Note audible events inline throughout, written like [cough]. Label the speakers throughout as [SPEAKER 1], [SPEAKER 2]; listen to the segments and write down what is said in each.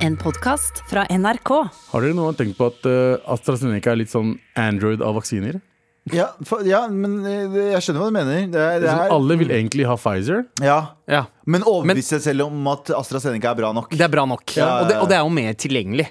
[SPEAKER 1] En podkast fra NRK.
[SPEAKER 2] Har dere noen gang tenkt på at eh, AstraZeneca er litt sånn Android av vaksiner?
[SPEAKER 3] Ja, for, ja, men eh, jeg skjønner hva du mener. Det er,
[SPEAKER 2] Det er
[SPEAKER 3] det er,
[SPEAKER 2] sånn, alle vil egentlig ha Pfizer.
[SPEAKER 3] ja.
[SPEAKER 4] Ja,
[SPEAKER 3] Liksom Men overbevise seg selv om at AstraZeneca er bra nok.
[SPEAKER 4] Det er bra nok.
[SPEAKER 3] Ja, ja, ja.
[SPEAKER 4] Og, det, og det er jo mer tilgjengelig.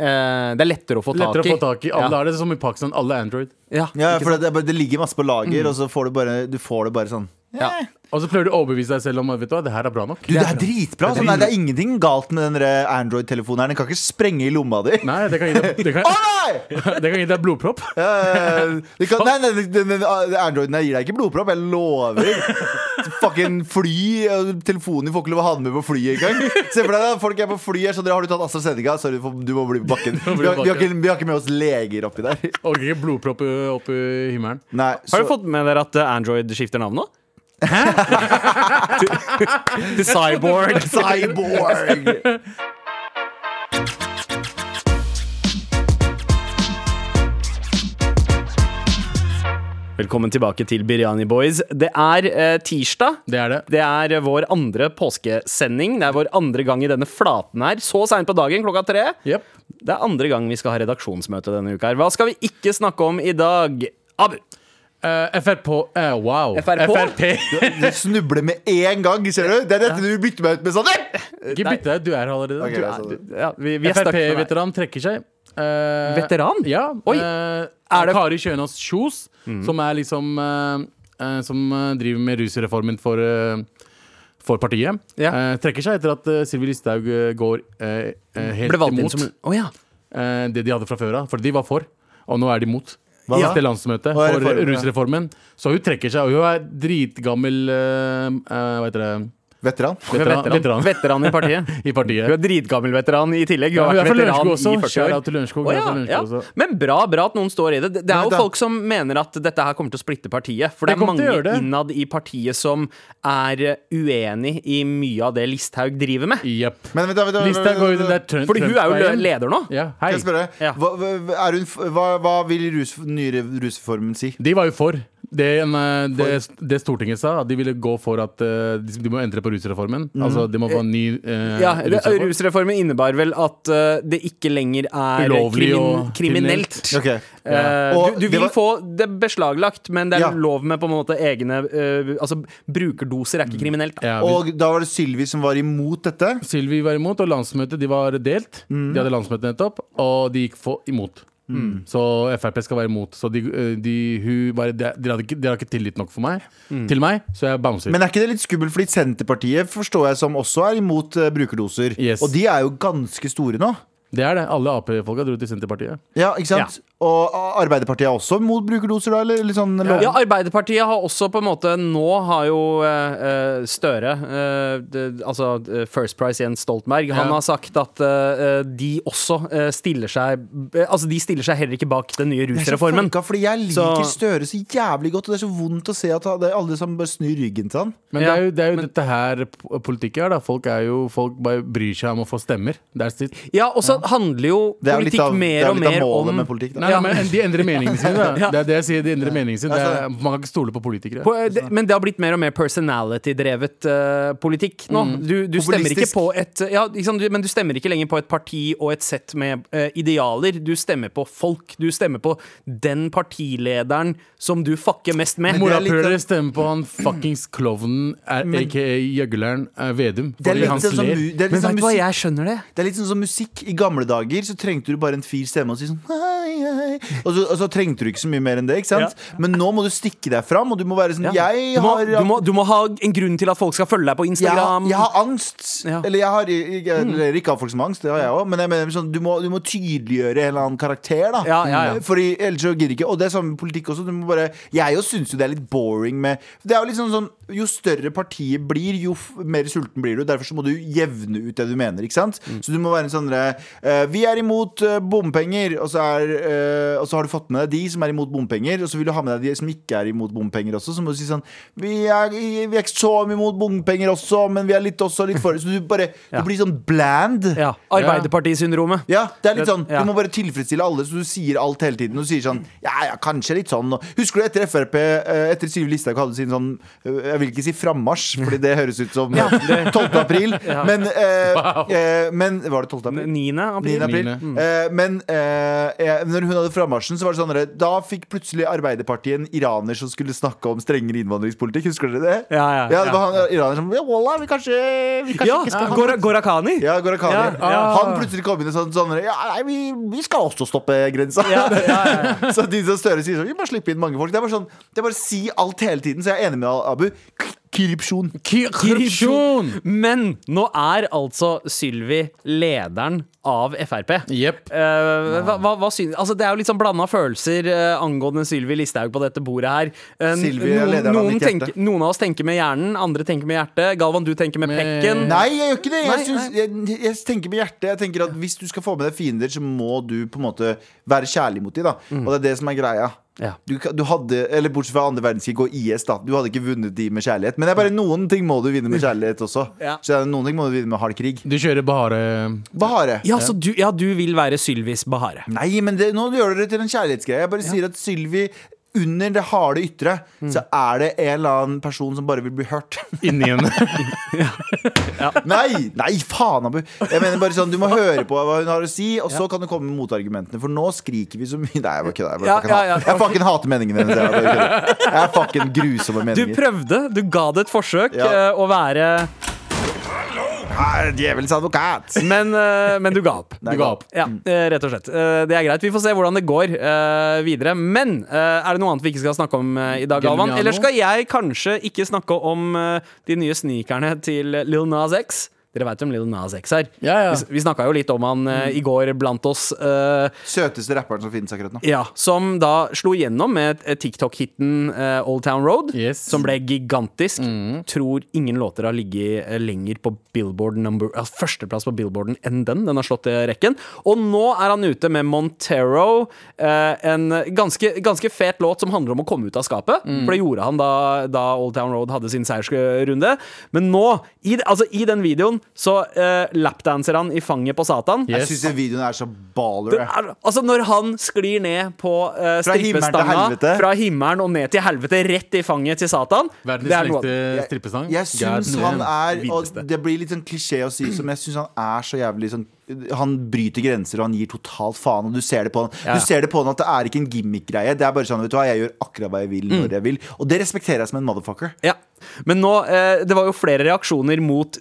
[SPEAKER 4] Eh, det er lettere å få tak i.
[SPEAKER 2] Lettere å få tak i. Alle
[SPEAKER 4] ja.
[SPEAKER 2] er det som i Pakistan. Alle er Android.
[SPEAKER 4] Ja.
[SPEAKER 3] Ja, for det, er bare- det ligger masse på lager, og så får du bare, du får det bare sånn.
[SPEAKER 4] Ja.
[SPEAKER 2] Og så prøver du å overbevise deg selv om at vet du hva, det her er bra nok.
[SPEAKER 3] Du, det er dritbra! Sånn, nei, det er ingenting galt med den der Android-telefonen. her Den kan ikke sprenge i lomma di.
[SPEAKER 2] Nei, det kan gi deg, det
[SPEAKER 3] Å
[SPEAKER 2] kan, [laughs]
[SPEAKER 3] nei!
[SPEAKER 2] det kan gi deg blodpropp.
[SPEAKER 3] Eh, det ah, kan, nei, nei den, den, den Androiden her gir deg ikke blodpropp, jeg lover. Fucking fly eh, Telefonen din får ikke lov å ha den med på flyet engang. Se for deg da, folk er på fly her, så dere har du tatt AstraZeneca. Sorry, for- du må bli på bakken.
[SPEAKER 2] må bli
[SPEAKER 3] Vi har,
[SPEAKER 2] på
[SPEAKER 3] vi har,
[SPEAKER 2] bakken.
[SPEAKER 3] ikke, vi har ikke med oss leger oppi der.
[SPEAKER 2] Orker ikke blodpropp ø, opp i himmelen.
[SPEAKER 3] Nei, så,
[SPEAKER 5] Har du fått med dere at eh, Android skifter navn nå? [laughs] Hæ? Til Cyborg.
[SPEAKER 3] Cyborg!
[SPEAKER 5] Velkommen tilbake til Biryani Boys. Det er eh, tirsdag.
[SPEAKER 2] Det er det.
[SPEAKER 5] Det er eh, vår andre påskesending. Det er vår andre gang i denne flaten her. Så seint på dagen, klokka tre.
[SPEAKER 2] Jep.
[SPEAKER 5] Det er andre gang vi skal ha redaksjonsmøte denne uka. her Hva skal vi ikke snakke om i dag? Abu.
[SPEAKER 2] Eh, Frp eh, Wow.
[SPEAKER 5] FRP?
[SPEAKER 2] FRP.
[SPEAKER 3] Du snubler med én gang, ser du. Det er dette du bytter meg ut med. sånn «Eh!»
[SPEAKER 2] [laughs] Ikke bytt deg ut, du er her allerede.
[SPEAKER 3] Ok,
[SPEAKER 2] altså,
[SPEAKER 3] altså,
[SPEAKER 2] Du
[SPEAKER 3] jeg sa det.
[SPEAKER 5] Ja, vi, vi er stuck med deg.
[SPEAKER 2] Frp-veteran trekker seg. Eh,
[SPEAKER 5] Veteran?
[SPEAKER 2] Ja.
[SPEAKER 5] Oi.
[SPEAKER 2] eh,
[SPEAKER 5] Er det- Mm.
[SPEAKER 2] Kari Kjønaas Kjos, som er liksom eh, eh, Som eh, driver med rusreformen for, eh, for partiet.
[SPEAKER 5] Ja.
[SPEAKER 2] eh, trekker seg etter at uh, Sylvi Listhaug eh, går eh, eh, helt
[SPEAKER 5] Ble valgt inn
[SPEAKER 2] imot
[SPEAKER 5] som Å ja.
[SPEAKER 2] eh, det de hadde fra før av. For de var for, og nå er de imot.
[SPEAKER 3] Hva da?
[SPEAKER 2] Siste landsmøte
[SPEAKER 3] Hva er
[SPEAKER 2] for
[SPEAKER 3] reformen, ja?
[SPEAKER 2] rusreformen. Så hun trekker seg, og hun er dritgammel eh, eh, Hva heter det?
[SPEAKER 3] Veteran.
[SPEAKER 2] Veteran, veteran.
[SPEAKER 5] Veteran i [laughs] partiet.
[SPEAKER 2] i partiet.
[SPEAKER 5] Hun er dritgammel veteran i tillegg. Hun
[SPEAKER 2] Ja,
[SPEAKER 5] har
[SPEAKER 2] hun er
[SPEAKER 5] vært
[SPEAKER 2] fra
[SPEAKER 5] veteran
[SPEAKER 2] Lørenskog
[SPEAKER 5] i
[SPEAKER 2] også.
[SPEAKER 5] 40
[SPEAKER 2] Shout
[SPEAKER 5] år.
[SPEAKER 2] out til Lørenskog. hun
[SPEAKER 5] Å,
[SPEAKER 2] er fra
[SPEAKER 5] ja,
[SPEAKER 2] Lørenskog
[SPEAKER 5] ja.
[SPEAKER 2] også.
[SPEAKER 5] Men bra, bra at noen står i det. Det det er
[SPEAKER 3] Nei,
[SPEAKER 5] jo
[SPEAKER 3] da-
[SPEAKER 5] folk som mener at dette her kommer til å splitte partiet. For
[SPEAKER 2] Det
[SPEAKER 5] det er
[SPEAKER 2] kommer til å gjøre det.
[SPEAKER 5] mange innad i partiet som er eh, uenig i mye av det Listhaug driver med.
[SPEAKER 2] Jepp.
[SPEAKER 3] Men vent, da, vent, da,
[SPEAKER 2] Listhaug går jo den der Trump-
[SPEAKER 5] Fordi hun er jo
[SPEAKER 2] Trump-veien.
[SPEAKER 5] lø- leder nå.
[SPEAKER 2] Ja, hei.
[SPEAKER 3] Kan jeg spørre,
[SPEAKER 5] Ja.
[SPEAKER 3] hva, hva- er hun, f- hva, hva vil rus, nye rusreformen si?
[SPEAKER 2] De var jo for. Det, en, eh, det, det Stortinget sa, at de ville gå for at eh, de, de må endre på rusreformen. Altså, de må få en ny eh,
[SPEAKER 5] Ja, det-
[SPEAKER 2] rusreform.
[SPEAKER 5] Rusreformen innebar vel at eh, det ikke lenger er
[SPEAKER 2] Ulovlig
[SPEAKER 5] krimin
[SPEAKER 2] og
[SPEAKER 5] kriminelt.
[SPEAKER 3] Ok.
[SPEAKER 5] Eh,
[SPEAKER 3] Og
[SPEAKER 5] du, du
[SPEAKER 3] det
[SPEAKER 5] vil
[SPEAKER 3] var-
[SPEAKER 5] få det beslaglagt, men det er
[SPEAKER 3] Ja.
[SPEAKER 5] lov med på en måte egne eh, Altså, brukerdoser er ikke kriminelt. da.
[SPEAKER 2] Mm. Ja, vi-
[SPEAKER 3] Og da var det Sylvi som var imot dette.
[SPEAKER 2] Sylvi var imot, og landsmøtet de var delt. De hadde landsmøte nettopp, og de gikk for, imot. Så Frp skal være imot. Så de, eh, de, hun bare, de, de, hadde ikke, de har ikke tillit nok for meg, til meg, så jeg bouncer.
[SPEAKER 3] Men er ikke det litt skummelt, fordi Senterpartiet forstår jeg som også er imot eh, brukerdoser.
[SPEAKER 2] Yes.
[SPEAKER 3] Og de er jo ganske store nå.
[SPEAKER 2] det er det. Alle Ap-folka dro til Senterpartiet.
[SPEAKER 3] Ja, ikke sant? Og ah, Arbeiderpartiet er også imot brukerdoser, da? Eller litt sånn lov-
[SPEAKER 5] Ja, Arbeiderpartiet har også på en måte Nå har jo eh, eh, Støre, eh, det, altså eh, First Price Jens Stoltenberg, han
[SPEAKER 2] Ja.
[SPEAKER 5] har sagt at eh, eh, de også eh, stiller seg eh, Altså, de stiller seg heller ikke bak den nye
[SPEAKER 3] Jeg er så
[SPEAKER 5] rusreformen.
[SPEAKER 3] forka, fordi jeg liker
[SPEAKER 5] Så-
[SPEAKER 3] Støre så jævlig godt, og det er så vondt å se at han- det er alle som bare snur ryggen til han.
[SPEAKER 2] Men
[SPEAKER 5] Ja,
[SPEAKER 2] det er jo, det er jo dette her p- politikk er, da. Folk, er jo, folk bare bryr seg om å få stemmer. That's it.
[SPEAKER 5] Ja, og så handler jo
[SPEAKER 3] Det er jo litt
[SPEAKER 5] politikk
[SPEAKER 3] av, det er
[SPEAKER 5] mer
[SPEAKER 3] jo
[SPEAKER 5] og
[SPEAKER 3] litt av
[SPEAKER 5] mer
[SPEAKER 3] målet
[SPEAKER 5] om
[SPEAKER 3] med politikk. Da.
[SPEAKER 2] Nei,
[SPEAKER 5] Ja.
[SPEAKER 2] nei, men De endrer meningene sine. [laughs] Da.
[SPEAKER 5] Ja.
[SPEAKER 2] Det er det jeg sier. de endrer meningene sine det
[SPEAKER 3] Ja,
[SPEAKER 2] er, Man kan ikke stole på politikere.
[SPEAKER 5] på, eh, det,
[SPEAKER 3] Sånn.
[SPEAKER 5] men det har blitt mer og mer personality-drevet eh, politikk nå. Du, du stemmer
[SPEAKER 3] Mm.
[SPEAKER 5] ikke
[SPEAKER 3] Populistisk.
[SPEAKER 5] på et eh, ja, ikke sant, du, Men du stemmer ikke lenger på et parti og et sett med eh, idealer. Du stemmer på folk. Du stemmer på den partilederen som du fucker mest med.
[SPEAKER 3] det er litt sånn-
[SPEAKER 2] Morapulere
[SPEAKER 3] av-
[SPEAKER 2] stemmer på han fuckings klovnen, er- aka gjøgleren eh, Vedum.
[SPEAKER 3] Det er
[SPEAKER 2] Fordi
[SPEAKER 3] litt
[SPEAKER 2] hans
[SPEAKER 3] sånn som
[SPEAKER 2] ler.
[SPEAKER 3] mu- det er litt
[SPEAKER 5] Men
[SPEAKER 3] sånn
[SPEAKER 5] vet du hva,
[SPEAKER 3] musikk-
[SPEAKER 5] jeg skjønner det.
[SPEAKER 3] Det er litt sånn som musikk. I gamle dager så trengte du bare en fir stemme og si sånn hei, hei. Og, så, og så trengte du ikke så mye mer enn det. ikke sant? Men nå må du stikke deg fram, og du må være sånn
[SPEAKER 5] Ja.
[SPEAKER 3] jeg,
[SPEAKER 5] du, må,
[SPEAKER 3] har,
[SPEAKER 5] du, må, du må ha en grunn til at folk skal følge deg på
[SPEAKER 3] jeg, har,
[SPEAKER 5] Instagram.
[SPEAKER 3] jeg har angst.
[SPEAKER 5] Ja. Mm.
[SPEAKER 3] Eller jeg har jeg, jeg, eller ikke har folk som har angst, det har jeg òg, men jeg mener sånn, du, må, du må tydeliggjøre en eller annen karakter. da
[SPEAKER 5] Ja, ja, ja.
[SPEAKER 3] Fordi ellers så gidder ikke. Og det er samme med politikk også. Du må bare, jeg jo syns jo det er litt boring med Det er jo litt sånn sånn Jo større partiet blir, jo f- mer sulten blir du. Derfor så må du jevne ut det du mener, ikke sant? Så du må være en sånn derre eh, Vi er imot eh, bompenger, og så er eh, eh, og så har du fått med deg de som er imot bompenger, og så vil du ha med deg de som ikke er imot bompenger også. Så må du si sånn Vi er, vi er ikke så imot bompenger også, men vi er litt også litt for Så du bare Du blir sånn bland.
[SPEAKER 5] Ja. Arbeiderpartisyndromet.
[SPEAKER 3] Ja, det er litt sånn
[SPEAKER 5] ja.
[SPEAKER 3] Du må bare tilfredsstille alle, så du sier alt hele tiden. Og du sier sånn Ja, ja, kanskje litt sånn. Og husker du etter Frp, eh, etter Siv Listhaug hadde sin sånn eh, Jeg vil ikke si frammarsj, fordi det høres ut
[SPEAKER 5] [laughs]
[SPEAKER 3] som [laughs] 12. april, men, eh, eh, men Var det 12. april?
[SPEAKER 5] 9.
[SPEAKER 3] 9.
[SPEAKER 5] april.
[SPEAKER 3] april.
[SPEAKER 2] Niende.
[SPEAKER 5] mm.
[SPEAKER 3] Eh, men eh, eh, når hun hadde frammarsjen, så var det sånn at da fikk plutselig Arbeiderpartiet en iraner som skulle snakke om strengere innvandringspolitikk. Husker dere det?
[SPEAKER 5] Ja, ja,
[SPEAKER 3] det
[SPEAKER 5] ja.
[SPEAKER 3] var han iraneren som Ja, wallah, vi kanskje, vi kanskje
[SPEAKER 5] Ja,
[SPEAKER 3] ikke skal ha
[SPEAKER 5] Gora- Gorakhani.
[SPEAKER 3] ja, Gorakhani.
[SPEAKER 5] Ja, ah. ja.
[SPEAKER 3] Han plutselig kom inn og sa sånn Ja, nei, vi, vi skal også stoppe grensa. [laughs] så de som Støre sier sånn Vi må slippe inn mange folk. Det er bare sånn Det er bare å si alt hele tiden. Så jeg er enig med Abu. K- Korrupsjon.
[SPEAKER 2] Korrupsjon!
[SPEAKER 5] Men nå er altså Sylvi lederen av Frp.
[SPEAKER 2] Jepp.
[SPEAKER 5] Eh, hva, hva, hva syns- altså, det er jo litt sånn blanda følelser eh, angående Sylvi Listhaug på dette bordet her. Eh,
[SPEAKER 3] Sylvi er lederen av
[SPEAKER 5] noen,
[SPEAKER 3] mitt hjerte.
[SPEAKER 5] tenker, noen av oss tenker med hjernen, andre tenker med hjertet. Galvan, du tenker med
[SPEAKER 2] Med-
[SPEAKER 5] pekken.
[SPEAKER 3] Nei, jeg gjør ikke det. Jeg,
[SPEAKER 5] Nei,
[SPEAKER 3] syns- jeg, jeg tenker med hjertet. Jeg tenker at Hvis du skal få med deg fiender, så må du på en måte være kjærlig mot dem. Da. Og det er det som er greia.
[SPEAKER 5] Mm. Ja.
[SPEAKER 3] Du, kan- du hadde, eller Bortsett fra andre verdenskrig og IS, da. Du hadde ikke vunnet de med kjærlighet. Men det er bare noen ting må du vinne med kjærlighet også.
[SPEAKER 5] Mm. Ja.
[SPEAKER 3] Så det er noen ting må du vinne med hard krig.
[SPEAKER 2] Du kjører bare
[SPEAKER 3] Bahare.
[SPEAKER 5] Ja, så du, ja, du vil være Sylvis Bahare.
[SPEAKER 3] Nei, men det, nå gjør dere det til en kjærlighetsgreie. Jeg bare sier at Sylvi under det harde ytre,
[SPEAKER 5] Mm.
[SPEAKER 3] så er det en eller annen person som bare vil bli hørt. [laughs]
[SPEAKER 2] inni en
[SPEAKER 3] nei! Nei, faen, Abu! Jeg mener bare sånn, Du må høre på hva hun har å si, og så kan du komme med motargumentene. For nå skriker vi så mye Nei, jeg var ikke det. Jeg, bare
[SPEAKER 5] Ja,
[SPEAKER 3] fucking,
[SPEAKER 5] ja,
[SPEAKER 3] hat-
[SPEAKER 5] ja.
[SPEAKER 3] jeg fucking hater meningene hennes. Jeg, bare kødder. jeg er fucking grusomme
[SPEAKER 5] Du
[SPEAKER 3] meninger.
[SPEAKER 5] prøvde, du ga det et forsøk
[SPEAKER 3] Ja.
[SPEAKER 5] eh, å være
[SPEAKER 3] Her, Djevelens advokat!
[SPEAKER 5] men, eh, men du ga opp.
[SPEAKER 3] Nei,
[SPEAKER 2] Du ga opp. Mm.
[SPEAKER 5] Ja, eh, rett og slett. Eh, Det er greit. Vi får se hvordan det går eh, videre. Men eh, er det noe annet vi ikke skal snakke om eh, i dag, Galvan?
[SPEAKER 2] Galliano?
[SPEAKER 5] Eller skal jeg kanskje ikke snakke om eh, de nye sneakerne til Lil Nas X? Dere veit hvem Lil Nas X er?
[SPEAKER 2] Ja, Mm. ja.
[SPEAKER 5] Vi, s- vi snakka jo litt om han eh, i går blant oss. eh,
[SPEAKER 3] Søteste rapperen som finnes akkurat nå.
[SPEAKER 5] ja, Som da slo igjennom med eh, TikTok-hiten eh, Old Town Road,
[SPEAKER 2] Yes.
[SPEAKER 5] som ble gigantisk. Tror ingen låter har ligget eh, lenger på Billboard number, altså førsteplass på Billboarden enn den. Den har slått eh, rekken. Og nå er han ute med Montero, eh, en ganske, ganske fet låt som handler om å komme ut av skapet. For det gjorde han da, da Old Town Road hadde sin seiersrunde. Men nå, i, altså, i den videoen, så eh, lapdanser han i fanget på Satan.
[SPEAKER 2] Yes.
[SPEAKER 3] Jeg syns den videoen er så baller.
[SPEAKER 5] Det
[SPEAKER 3] jeg.
[SPEAKER 5] er, altså Når han sklir ned på uh,
[SPEAKER 3] himmelen til helvete.
[SPEAKER 5] strippestanga fra himmelen og ned til helvete, rett i fanget til Satan det er
[SPEAKER 2] verdens
[SPEAKER 5] noe-
[SPEAKER 2] lengste Eh, strippesang.
[SPEAKER 3] Jeg syns
[SPEAKER 2] God
[SPEAKER 3] han
[SPEAKER 2] damn.
[SPEAKER 3] er Og
[SPEAKER 5] Villeste.
[SPEAKER 3] det blir litt sånn klisjé å si som jeg syns han er så jævlig sånn han bryter grenser og han gir totalt faen. Og Du ser det på han
[SPEAKER 5] Ja.
[SPEAKER 3] Du ser det på han at det er ikke en gimmick-greie. Det er bare sånn, vet du hva, Jeg gjør akkurat hva jeg vil
[SPEAKER 2] Mm.
[SPEAKER 3] når jeg vil. Og det respekterer jeg som en motherfucker.
[SPEAKER 5] Ja. Men nå, eh, det var jo flere reaksjoner mot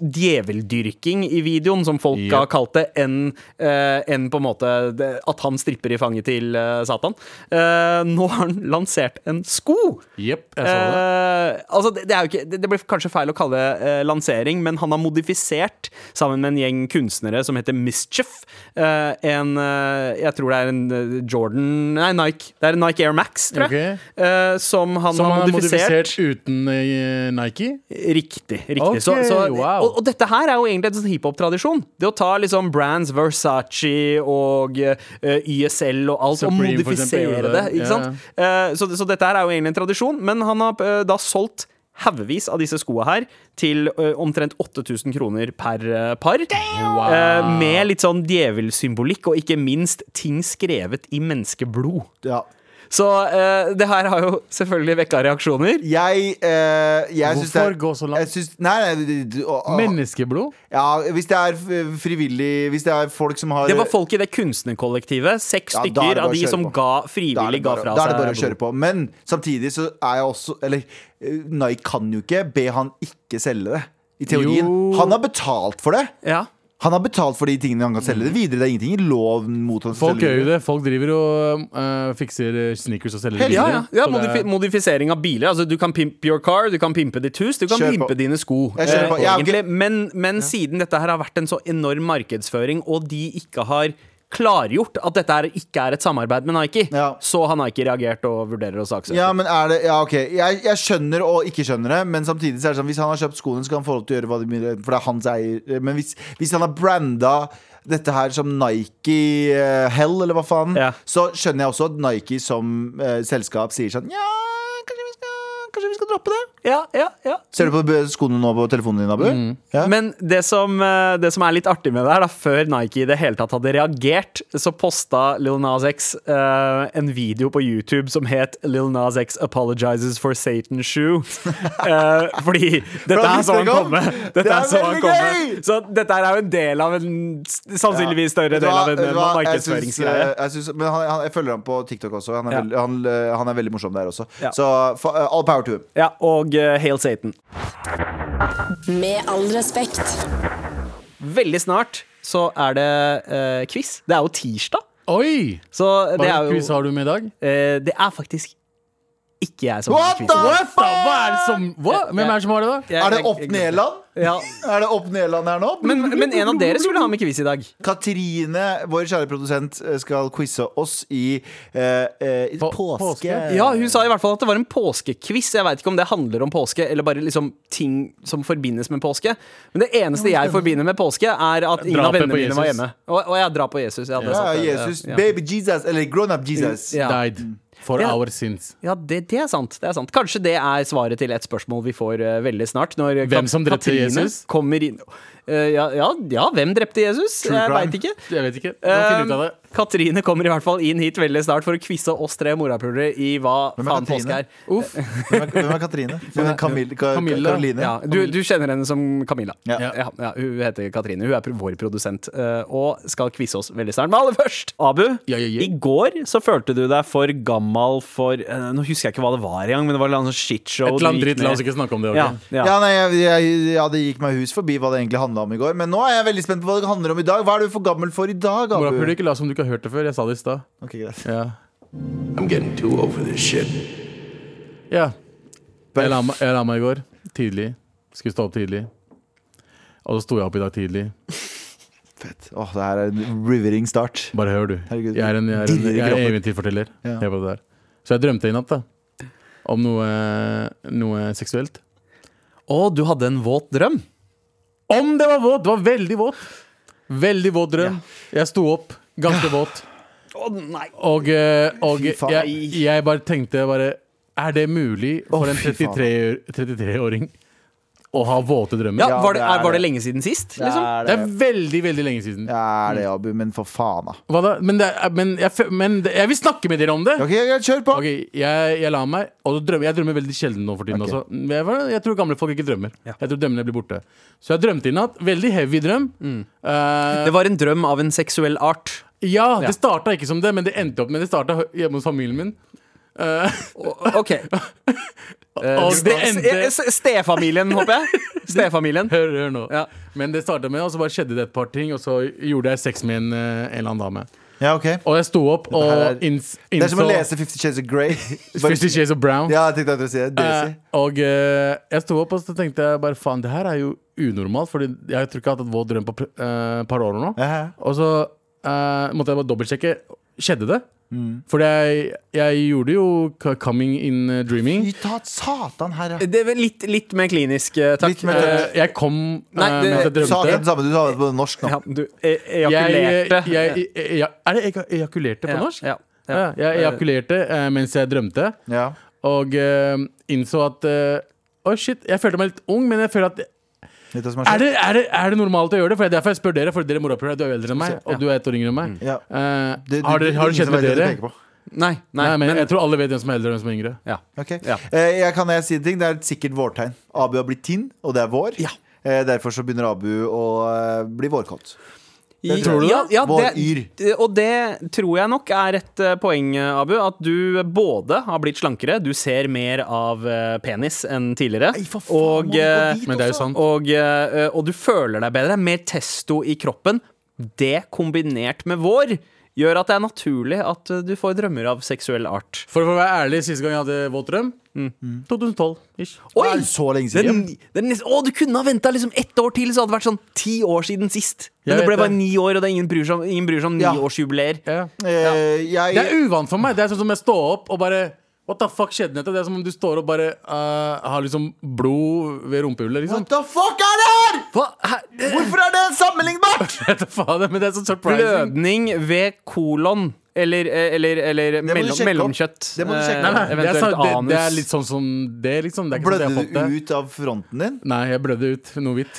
[SPEAKER 5] djeveldyrking i videoen, som folk
[SPEAKER 2] Ja.
[SPEAKER 5] har kalt det, enn eh, enn på en måte det- at han stripper i fanget til eh, Satan. Eh, nå har han lansert en sko!
[SPEAKER 2] Jepp, jeg så det.
[SPEAKER 5] Eh, altså det, det, er jo ikke, det, det blir kanskje feil å kalle det eh, lansering, men han har modifisert, sammen med en gjeng kunstnere som heter Mischief, eh, en eh, Jeg tror det er en eh, Jordan Nei, Nike. Det er en Nike Air Max, tror jeg.
[SPEAKER 2] Ok.
[SPEAKER 5] eh, som han
[SPEAKER 2] Som
[SPEAKER 5] har
[SPEAKER 2] han har modifisert
[SPEAKER 5] modifisert.
[SPEAKER 2] uten eh, Nike.
[SPEAKER 5] Riktig. riktig.
[SPEAKER 2] Ok,
[SPEAKER 5] så, så,
[SPEAKER 2] wow.
[SPEAKER 5] og, og dette her er jo egentlig en sånn hiphop-tradisjon. Det å ta liksom brands Versace og eh, YSL og alt,
[SPEAKER 2] Supreme,
[SPEAKER 5] og
[SPEAKER 2] for eksempel,
[SPEAKER 5] modifisere
[SPEAKER 2] gjorde
[SPEAKER 5] det.
[SPEAKER 2] det.
[SPEAKER 5] Ikke
[SPEAKER 2] Ja.
[SPEAKER 5] sant? Eh, så, så dette her er jo egentlig en tradisjon, men han har eh, da solgt haugevis av disse skoa her til eh, omtrent 8000 kroner per eh, par. Eh, med litt sånn djevelsymbolikk, og ikke minst ting skrevet i menneskeblod.
[SPEAKER 3] Ja.
[SPEAKER 5] Så eh, det her har jo selvfølgelig vekka reaksjoner.
[SPEAKER 3] Jeg, eh, jeg syns det er-
[SPEAKER 2] Hvorfor gå så langt?
[SPEAKER 3] Jeg syns, nei, nei, du- du- å- å-
[SPEAKER 2] Menneskeblod.
[SPEAKER 3] ja, hvis Ah. det er eh, frivillig Hvis det er folk som har
[SPEAKER 5] Det var folk i det kunstnerkollektivet. Seks
[SPEAKER 3] Ja, da er det
[SPEAKER 5] stykker
[SPEAKER 3] bare
[SPEAKER 5] av
[SPEAKER 3] å
[SPEAKER 5] de
[SPEAKER 3] kjøre
[SPEAKER 5] som
[SPEAKER 3] på.
[SPEAKER 5] ga
[SPEAKER 3] Da er det
[SPEAKER 5] frivillig ga
[SPEAKER 3] bare,
[SPEAKER 5] fra
[SPEAKER 3] da er
[SPEAKER 5] seg
[SPEAKER 3] det bare å
[SPEAKER 5] blod.
[SPEAKER 3] kjøre på. Men samtidig så er jeg også Eller eh, Nike kan jo ikke be han ikke selge det. I teorien.
[SPEAKER 2] Jo.
[SPEAKER 3] Han har betalt for det.
[SPEAKER 5] Ja.
[SPEAKER 3] Han har betalt for de tingene han kan selge det videre. Det er ingenting i lov mot han
[SPEAKER 2] Folk gjør jo
[SPEAKER 3] selger
[SPEAKER 2] det. Folk driver og eh, fikser sneakers og selger
[SPEAKER 3] Helt-
[SPEAKER 5] Ja,
[SPEAKER 2] biler.
[SPEAKER 5] ja. ja
[SPEAKER 2] Så det
[SPEAKER 5] modifi
[SPEAKER 2] er-
[SPEAKER 5] modifisering av biler. Altså, du kan pimpe your car, du kan pimpe ditt hus, du kan
[SPEAKER 3] Kjør på.
[SPEAKER 5] pimpe dine sko.
[SPEAKER 3] Jeg kjører
[SPEAKER 5] eh,
[SPEAKER 3] på. Ja, ok.
[SPEAKER 5] egentlig. Men, men siden dette her har vært en så enorm markedsføring, og de ikke har klargjort at dette her ikke er et samarbeid med Nike,
[SPEAKER 3] Ja.
[SPEAKER 5] så har Nike reagert og vurderer å saksøke.
[SPEAKER 3] Ja, men er det Ja, ok. Jeg, jeg skjønner og ikke skjønner det, men samtidig så er det sånn hvis han har kjøpt skoene, så kan han få lov til å gjøre hva de vil, for det er hans eier. Men hvis, hvis han har branda dette her som Nike eh, Hell, eller hva faen,
[SPEAKER 5] Ja.
[SPEAKER 3] så skjønner jeg også at Nike som eh, selskap sier sånn Ja, kanskje vi skal, kanskje vi skal droppe det?
[SPEAKER 5] Ja, ja, ja.
[SPEAKER 3] Ser du på b- skoene nå på telefonen din, Abu? Ja.
[SPEAKER 5] Mm. Men det som, eh, det som er litt artig med det her, da, før Nike i det hele tatt hadde reagert, så posta Lil Nas X eh, en video på YouTube som het Lil Nas X apologizes for Satan's shoe. [laughs] Eh, fordi dette
[SPEAKER 3] Fra
[SPEAKER 5] er så han
[SPEAKER 3] Instagram?
[SPEAKER 5] komme.
[SPEAKER 3] Det
[SPEAKER 5] Dette
[SPEAKER 3] er
[SPEAKER 5] er så han
[SPEAKER 3] veldig
[SPEAKER 5] komme.
[SPEAKER 3] gøy!
[SPEAKER 5] Så dette her er jo en del av en s- sannsynligvis større
[SPEAKER 3] Vet du
[SPEAKER 5] del
[SPEAKER 3] hva-
[SPEAKER 5] av en
[SPEAKER 3] vet
[SPEAKER 5] eh,
[SPEAKER 3] du hva? Jeg syns,
[SPEAKER 5] markedsføringsgreie.
[SPEAKER 3] eh, jeg syns- Men han, han, jeg følger ham på TikTok også. Han er,
[SPEAKER 5] Ja.
[SPEAKER 3] veldig, han, eh, han er veldig morsom der også.
[SPEAKER 5] Ja.
[SPEAKER 3] Så fa, eh, all power to him.
[SPEAKER 5] Ja, og eh, Hail Satan.
[SPEAKER 1] Med all respekt.
[SPEAKER 5] Veldig snart så er det eh, quiz. Det er jo tirsdag.
[SPEAKER 2] Oi!
[SPEAKER 5] Så det
[SPEAKER 2] Hva
[SPEAKER 5] er jo
[SPEAKER 2] quiz har du med i dag?
[SPEAKER 5] Eh, det er faktisk ikke jeg som
[SPEAKER 3] What
[SPEAKER 5] har
[SPEAKER 3] the
[SPEAKER 5] quizen.
[SPEAKER 2] Hva faen? Hva er det som Hva? Hvem er det som har det, da?
[SPEAKER 5] Jeg-
[SPEAKER 3] Er det
[SPEAKER 5] jeg-
[SPEAKER 3] opp
[SPEAKER 5] jeg-
[SPEAKER 3] Neland?
[SPEAKER 5] Ja.
[SPEAKER 3] Er det opp Neland her nå?
[SPEAKER 5] Men, men en av dere skulle ha med quiz i dag.
[SPEAKER 3] Katrine, vår kjære produsent, eh, skal quize oss i eh, eh,
[SPEAKER 2] På-
[SPEAKER 3] påske.
[SPEAKER 2] påske?
[SPEAKER 5] Ja, Hun sa i hvert fall at det var en påskequiz. Jeg veit ikke om det handler om påske, eller bare liksom ting som forbindes med påske. Men det eneste jeg forbinder med påske, er at ingen av
[SPEAKER 2] Drapet
[SPEAKER 5] vennene
[SPEAKER 2] på
[SPEAKER 5] mine var
[SPEAKER 2] Jesus.
[SPEAKER 5] hjemme. Og, og jeg drar på Jesus. Ja, det er
[SPEAKER 3] Ja,
[SPEAKER 5] sant, det-
[SPEAKER 3] Jesus,
[SPEAKER 5] ja.
[SPEAKER 3] baby Jesus, eller grown up Jesus.
[SPEAKER 5] Ja.
[SPEAKER 2] Died for
[SPEAKER 5] Ja.
[SPEAKER 2] our sins.
[SPEAKER 5] Ja, det, det er sant. Det er sant. Kanskje det er svaret til et spørsmål vi får eh, veldig snart. Når
[SPEAKER 2] Hvem som drepte
[SPEAKER 5] Katrine
[SPEAKER 2] Jesus?
[SPEAKER 5] Kommer inn. Eh, ja, ja, ja, hvem drepte Jesus? jeg
[SPEAKER 3] crime.
[SPEAKER 5] veit ikke.
[SPEAKER 2] Jeg vet ikke. Vi må finne ut av det.
[SPEAKER 5] Um, Katrine kommer i hvert fall inn hit veldig snart for å quize oss tre morapulere i hva
[SPEAKER 3] Hvem er
[SPEAKER 5] faen
[SPEAKER 3] Katrine?
[SPEAKER 5] påske er.
[SPEAKER 2] Uff.
[SPEAKER 3] Hvem, er, hvem er Katrine? Hvem er Camille, Ka
[SPEAKER 2] Camilla.
[SPEAKER 3] Karoline?
[SPEAKER 5] Ja, du, du kjenner henne som Camilla.
[SPEAKER 3] Ja.
[SPEAKER 5] Ja, ja, hun heter Katrine. Hun er pro- vår produsent eh, og skal quize oss veldig snart. Men aller først, Abu.
[SPEAKER 2] Ja, ja, ja.
[SPEAKER 5] I går så følte du deg for gammel for eh, Nå husker jeg ikke hva det var engang, men det var en sånn
[SPEAKER 2] Et
[SPEAKER 5] shitshow.
[SPEAKER 2] eller annet dritt. La oss ikke snakke om det.
[SPEAKER 5] ja,
[SPEAKER 2] ok?
[SPEAKER 5] ja.
[SPEAKER 3] Ja, nei, jeg, jeg, ja, det gikk meg hus forbi hva det egentlig handla om i går. Men nå er jeg veldig spent på hva det handler om i dag. Hva er du for gammel for i dag,
[SPEAKER 2] Mora,
[SPEAKER 3] Abu?
[SPEAKER 2] prøv ikke å late som du ikke har hørt det før. Jeg sa det i stad.
[SPEAKER 3] Ok, greit.
[SPEAKER 2] Ja.
[SPEAKER 6] I'm getting too over this shit.
[SPEAKER 2] ja. Jeg la meg- jeg la meg i går. Tidlig. Skulle stå opp tidlig. Og så sto jeg opp i dag tidlig.
[SPEAKER 3] Åh, det her er en rivering start.
[SPEAKER 2] Bare hør, du.
[SPEAKER 3] Herregud,
[SPEAKER 2] Jeg er en, jeg er en,
[SPEAKER 3] dirrer i
[SPEAKER 2] jeg er en
[SPEAKER 3] kroppen.
[SPEAKER 2] eventyrforteller.
[SPEAKER 3] Ja.
[SPEAKER 2] Hør på det der. Så jeg drømte i natt da om noe, noe seksuelt.
[SPEAKER 5] Og du hadde en våt drøm.
[SPEAKER 2] Om det var våt! Det var veldig våt. Veldig våt drøm. Jeg sto opp ganske våt.
[SPEAKER 5] Å nei
[SPEAKER 2] Og, eh, og
[SPEAKER 3] Fy faen.
[SPEAKER 2] jeg, jeg bare tenkte bare Er det mulig for
[SPEAKER 3] Å,
[SPEAKER 2] en
[SPEAKER 3] fy faen.
[SPEAKER 2] 33 33-åring å ha våte drømmer?
[SPEAKER 5] ja,
[SPEAKER 3] Ja,
[SPEAKER 5] var, det,
[SPEAKER 3] det er
[SPEAKER 5] er, var det
[SPEAKER 3] det.
[SPEAKER 5] lenge siden sist?
[SPEAKER 3] Det
[SPEAKER 5] Liksom?
[SPEAKER 3] er
[SPEAKER 2] Det
[SPEAKER 3] det.
[SPEAKER 2] er veldig, veldig lenge siden.
[SPEAKER 3] Det er det, Abu. Men for faen, da.
[SPEAKER 2] Hva da? Men, det er, men, jeg, fø- men det, jeg vil snakke med dere om det!
[SPEAKER 3] Ok, greit, kjør på.
[SPEAKER 2] Ok, jeg, jeg la meg, og så drømmer, jeg drømmer veldig sjelden nå for tiden
[SPEAKER 3] Ok.
[SPEAKER 2] også. Men Jeg, var- jeg tror gamle folk ikke drømmer. Jeg tror drømmene blir borte. Så jeg drømte i natt. Veldig heavy drøm.
[SPEAKER 3] Mm.
[SPEAKER 2] Eh,
[SPEAKER 5] Det var en drøm av en seksuell art.
[SPEAKER 2] ja,
[SPEAKER 5] Ja.
[SPEAKER 2] det starta ikke som det, men det endte opp med det starta hø- hjemme hos familien min. [laughs]
[SPEAKER 5] Ok Eh,
[SPEAKER 2] Og det endte
[SPEAKER 5] Stefamilien, håper
[SPEAKER 2] [laughs]
[SPEAKER 5] jeg. Stefamilien.
[SPEAKER 2] Hør, hør nå.
[SPEAKER 5] Ja.
[SPEAKER 2] Men det starta med, og så bare skjedde det et par ting, og så gjorde jeg sex med en, eh, en eller annen dame.
[SPEAKER 3] Ja, ok
[SPEAKER 2] Og jeg sto opp
[SPEAKER 3] her er-
[SPEAKER 2] og inns,
[SPEAKER 3] Det er som å
[SPEAKER 2] innså
[SPEAKER 3] lese Fifty Shades of Grey.
[SPEAKER 2] [laughs]
[SPEAKER 3] Bare-
[SPEAKER 2] Fifty Shades of Brown.
[SPEAKER 3] Ja, jeg tenkte jeg skulle si
[SPEAKER 2] Eh,
[SPEAKER 3] det. Daisy.
[SPEAKER 2] og eh, jeg sto opp og så tenkte jeg bare faen, det her er jo unormalt, Fordi jeg tror ikke jeg har hatt et våt drøm på et par år nå.
[SPEAKER 3] Ja, ja.
[SPEAKER 2] Og så eh, måtte jeg bare dobbeltsjekke. Skjedde det?
[SPEAKER 3] Mm.
[SPEAKER 2] For jeg, jeg gjorde jo k- coming in eh, dreaming.
[SPEAKER 3] Fy ta satan her, ja.
[SPEAKER 5] Det er vel litt, litt mer klinisk, eh, takk.
[SPEAKER 3] Litt mer-
[SPEAKER 5] Eh,
[SPEAKER 2] Eh, jeg kom eh,
[SPEAKER 5] Nei, det-
[SPEAKER 2] mens jeg
[SPEAKER 3] Du sa akkurat
[SPEAKER 2] drømte.
[SPEAKER 3] det samme du sa det på norsk nå.
[SPEAKER 5] ja, du e-
[SPEAKER 2] Jeg,
[SPEAKER 5] ejakulerte.
[SPEAKER 2] jeg, jeg, jeg, er det ega- ejakulerte på
[SPEAKER 5] Ja,
[SPEAKER 2] norsk?
[SPEAKER 5] ja, ja.
[SPEAKER 2] Ja, jeg ejakulerte eh, mens jeg drømte.
[SPEAKER 3] Ja.
[SPEAKER 2] Og eh, innså at eh, Å, shit. Jeg følte meg litt ung, men jeg føler at
[SPEAKER 3] Vet du hva som
[SPEAKER 2] Er
[SPEAKER 3] har skjedd?
[SPEAKER 2] det, er, det, er det normalt å gjøre det? For Det er derfor jeg spør dere, for dere morapulere, du er jo eldre enn meg. Og du er ett år yngre enn meg.
[SPEAKER 3] Mm. Ja.
[SPEAKER 2] Eh,
[SPEAKER 3] Det- det-
[SPEAKER 2] har
[SPEAKER 3] det
[SPEAKER 2] det,
[SPEAKER 3] er
[SPEAKER 2] har det
[SPEAKER 3] ingen
[SPEAKER 2] skjedd
[SPEAKER 3] som
[SPEAKER 2] med
[SPEAKER 3] vet
[SPEAKER 2] dere?
[SPEAKER 3] hva du peker på.
[SPEAKER 5] Nei, nei,
[SPEAKER 2] Nei, men,
[SPEAKER 5] men,
[SPEAKER 2] Jeg tror alle vet hvem som er eldre og hvem som er yngre.
[SPEAKER 5] ja.
[SPEAKER 3] Ok.
[SPEAKER 5] Ja.
[SPEAKER 3] Eh, jeg kan jeg si en ting. Det er et sikkert vårtegn. Abu har blitt tinn, og det er vår. Eh, derfor så begynner Abu å eh, bli vårkåt.
[SPEAKER 5] I-
[SPEAKER 3] tror du
[SPEAKER 5] ja,
[SPEAKER 3] det?
[SPEAKER 5] ja,
[SPEAKER 3] Vår
[SPEAKER 5] det, og det tror jeg nok er et eh, poeng, eh, Abu. At du både har blitt slankere, du ser mer av eh, penis enn tidligere.
[SPEAKER 3] Nei, for faen, må
[SPEAKER 5] og,
[SPEAKER 3] du gå
[SPEAKER 5] eh,
[SPEAKER 3] dit
[SPEAKER 2] Men det er jo
[SPEAKER 3] også?
[SPEAKER 2] sant.
[SPEAKER 5] og, eh, og du føler deg bedre. Mer testo i kroppen. Det kombinert med vår gjør at det er naturlig at eh, du får drømmer av seksuell art.
[SPEAKER 2] For, for å være ærlig, siste gang jeg hadde våt drøm
[SPEAKER 5] Mm.
[SPEAKER 3] Mm.
[SPEAKER 2] 2012. ish
[SPEAKER 3] Det er så lenge siden.
[SPEAKER 5] Den, den, nest- å, du kunne ha venta liksom ett år til, så hadde det vært sånn ti år siden sist.
[SPEAKER 2] Jeg
[SPEAKER 5] Men det
[SPEAKER 2] vet
[SPEAKER 5] ble bare
[SPEAKER 2] det.
[SPEAKER 5] ni år, og det er ingen bryr seg om, ingen bryr seg om
[SPEAKER 3] Ja.
[SPEAKER 5] niårsjubileer.
[SPEAKER 2] ja.
[SPEAKER 3] Eh,
[SPEAKER 2] Det
[SPEAKER 3] jeg
[SPEAKER 2] er uvant for meg. Det er sånn som jeg står opp og bare What the fuck skjedde nettopp? Det er som om du står og bare eh, har liksom blod ved rumpehullet, liksom. [laughs]
[SPEAKER 3] What the fuck er det her?!
[SPEAKER 2] Hva? Hæ? Jeg
[SPEAKER 3] Hvorfor er det sammenlignbart?!
[SPEAKER 2] vet da faen, men det er så surprising.
[SPEAKER 5] Blødning ved kolon. Eller, eh, eller, eller
[SPEAKER 3] du
[SPEAKER 5] mellom,
[SPEAKER 3] sjekke opp.
[SPEAKER 5] mellomkjøtt.
[SPEAKER 3] Det må du
[SPEAKER 5] Eh,
[SPEAKER 3] sjekke opp. Nei,
[SPEAKER 2] Det er,
[SPEAKER 5] Eventuelt
[SPEAKER 2] så, det,
[SPEAKER 5] anus.
[SPEAKER 2] det er litt sånn som det, liksom. Det er ikke sånn at jeg
[SPEAKER 3] Blødde
[SPEAKER 2] har fått
[SPEAKER 3] du
[SPEAKER 2] det.
[SPEAKER 3] ut av fronten din?
[SPEAKER 2] Nei, jeg blødde ut noe hvitt.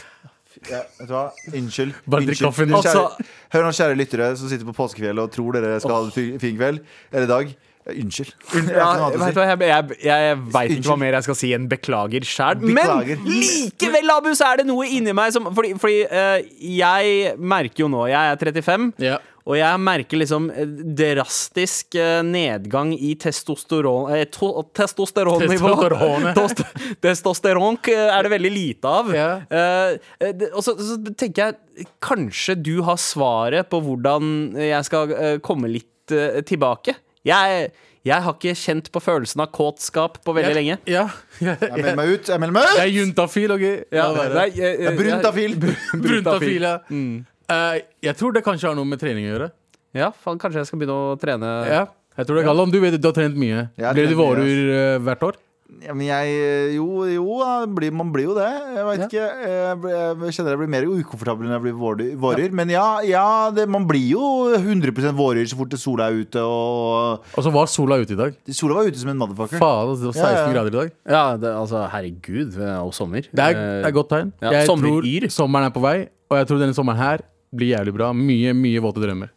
[SPEAKER 3] Ja, vet du hva? Unnskyld.
[SPEAKER 2] Bare drikk
[SPEAKER 3] Unnskyld.
[SPEAKER 2] kaffen din.
[SPEAKER 3] Kjære-
[SPEAKER 2] Altså-
[SPEAKER 3] Hør nå, kjære lyttere som sitter på påskefjellet og tror dere skal ha en fin- fin kveld. Eller dag. Eh, Unnskyld. Jeg har ikke
[SPEAKER 5] Ja,
[SPEAKER 3] noe
[SPEAKER 5] vet
[SPEAKER 3] annet
[SPEAKER 5] du
[SPEAKER 3] å si.
[SPEAKER 5] hva, jeg jeg, jeg veit
[SPEAKER 3] Unnskyld.
[SPEAKER 5] ikke hva mer jeg skal si enn beklager sjæl.
[SPEAKER 3] Beklager.
[SPEAKER 5] Men likevel, Abu, så er det noe inni meg som Fordi, fordi eh, jeg merker jo nå Jeg er 35,
[SPEAKER 2] Ja.
[SPEAKER 5] og jeg merker liksom eh, drastisk eh, nedgang i testosteron eh, to, testosteronnivå.
[SPEAKER 2] Testosteronet.
[SPEAKER 5] Tost- Testosteron eh, er det veldig lite av.
[SPEAKER 2] Ja.
[SPEAKER 5] Eh, eh, det- og så, så tenker jeg kanskje du har svaret på hvordan jeg skal eh, komme litt eh, tilbake. Jeg, jeg har ikke kjent på følelsen av kåtskap på veldig lenge.
[SPEAKER 2] Ja. [laughs] ja,
[SPEAKER 3] Jeg
[SPEAKER 2] ja.
[SPEAKER 3] melder meg ut. Jeg melder meg ut!
[SPEAKER 2] Jeg er juntafil, OK? La være.
[SPEAKER 5] nei, jeg- jeg-
[SPEAKER 3] Bruntafil.
[SPEAKER 5] [laughs]
[SPEAKER 2] Bruntafil, ja. Eh, jeg tror det kanskje har noe med trening å gjøre.
[SPEAKER 5] Ja, faen, kanskje jeg skal begynne å trene.
[SPEAKER 2] Ja. Jeg tror det Galvan, du vet du har trent mye.
[SPEAKER 3] Jeg har
[SPEAKER 2] Blir du
[SPEAKER 3] trent mye,
[SPEAKER 2] vårer eh, hvert år?
[SPEAKER 3] Ja, men jeg eh, Jo, jo da, blir, man blir jo det. Jeg vet ikke. Jeg, blir- jeg kjenner jeg blir mer ukomfortabel når jeg blir vårer. vårer. Men ja, ja det, man blir jo 100 vårer så fort det sola er ute. Og
[SPEAKER 2] Og så var sola ute i dag.
[SPEAKER 3] sola var ute som en motherfucker.
[SPEAKER 2] Faen, altså, det var 16
[SPEAKER 3] Ja, ja.
[SPEAKER 2] grader i dag.
[SPEAKER 5] Ja, det, altså, herregud, og sommer. Eh,
[SPEAKER 2] Det er, det er godt tegn.
[SPEAKER 5] Ja,
[SPEAKER 2] jeg
[SPEAKER 5] sommeryr.
[SPEAKER 2] tror sommeren er på vei, og jeg tror denne sommeren her blir jævlig bra. Mye, mye våte drømmer.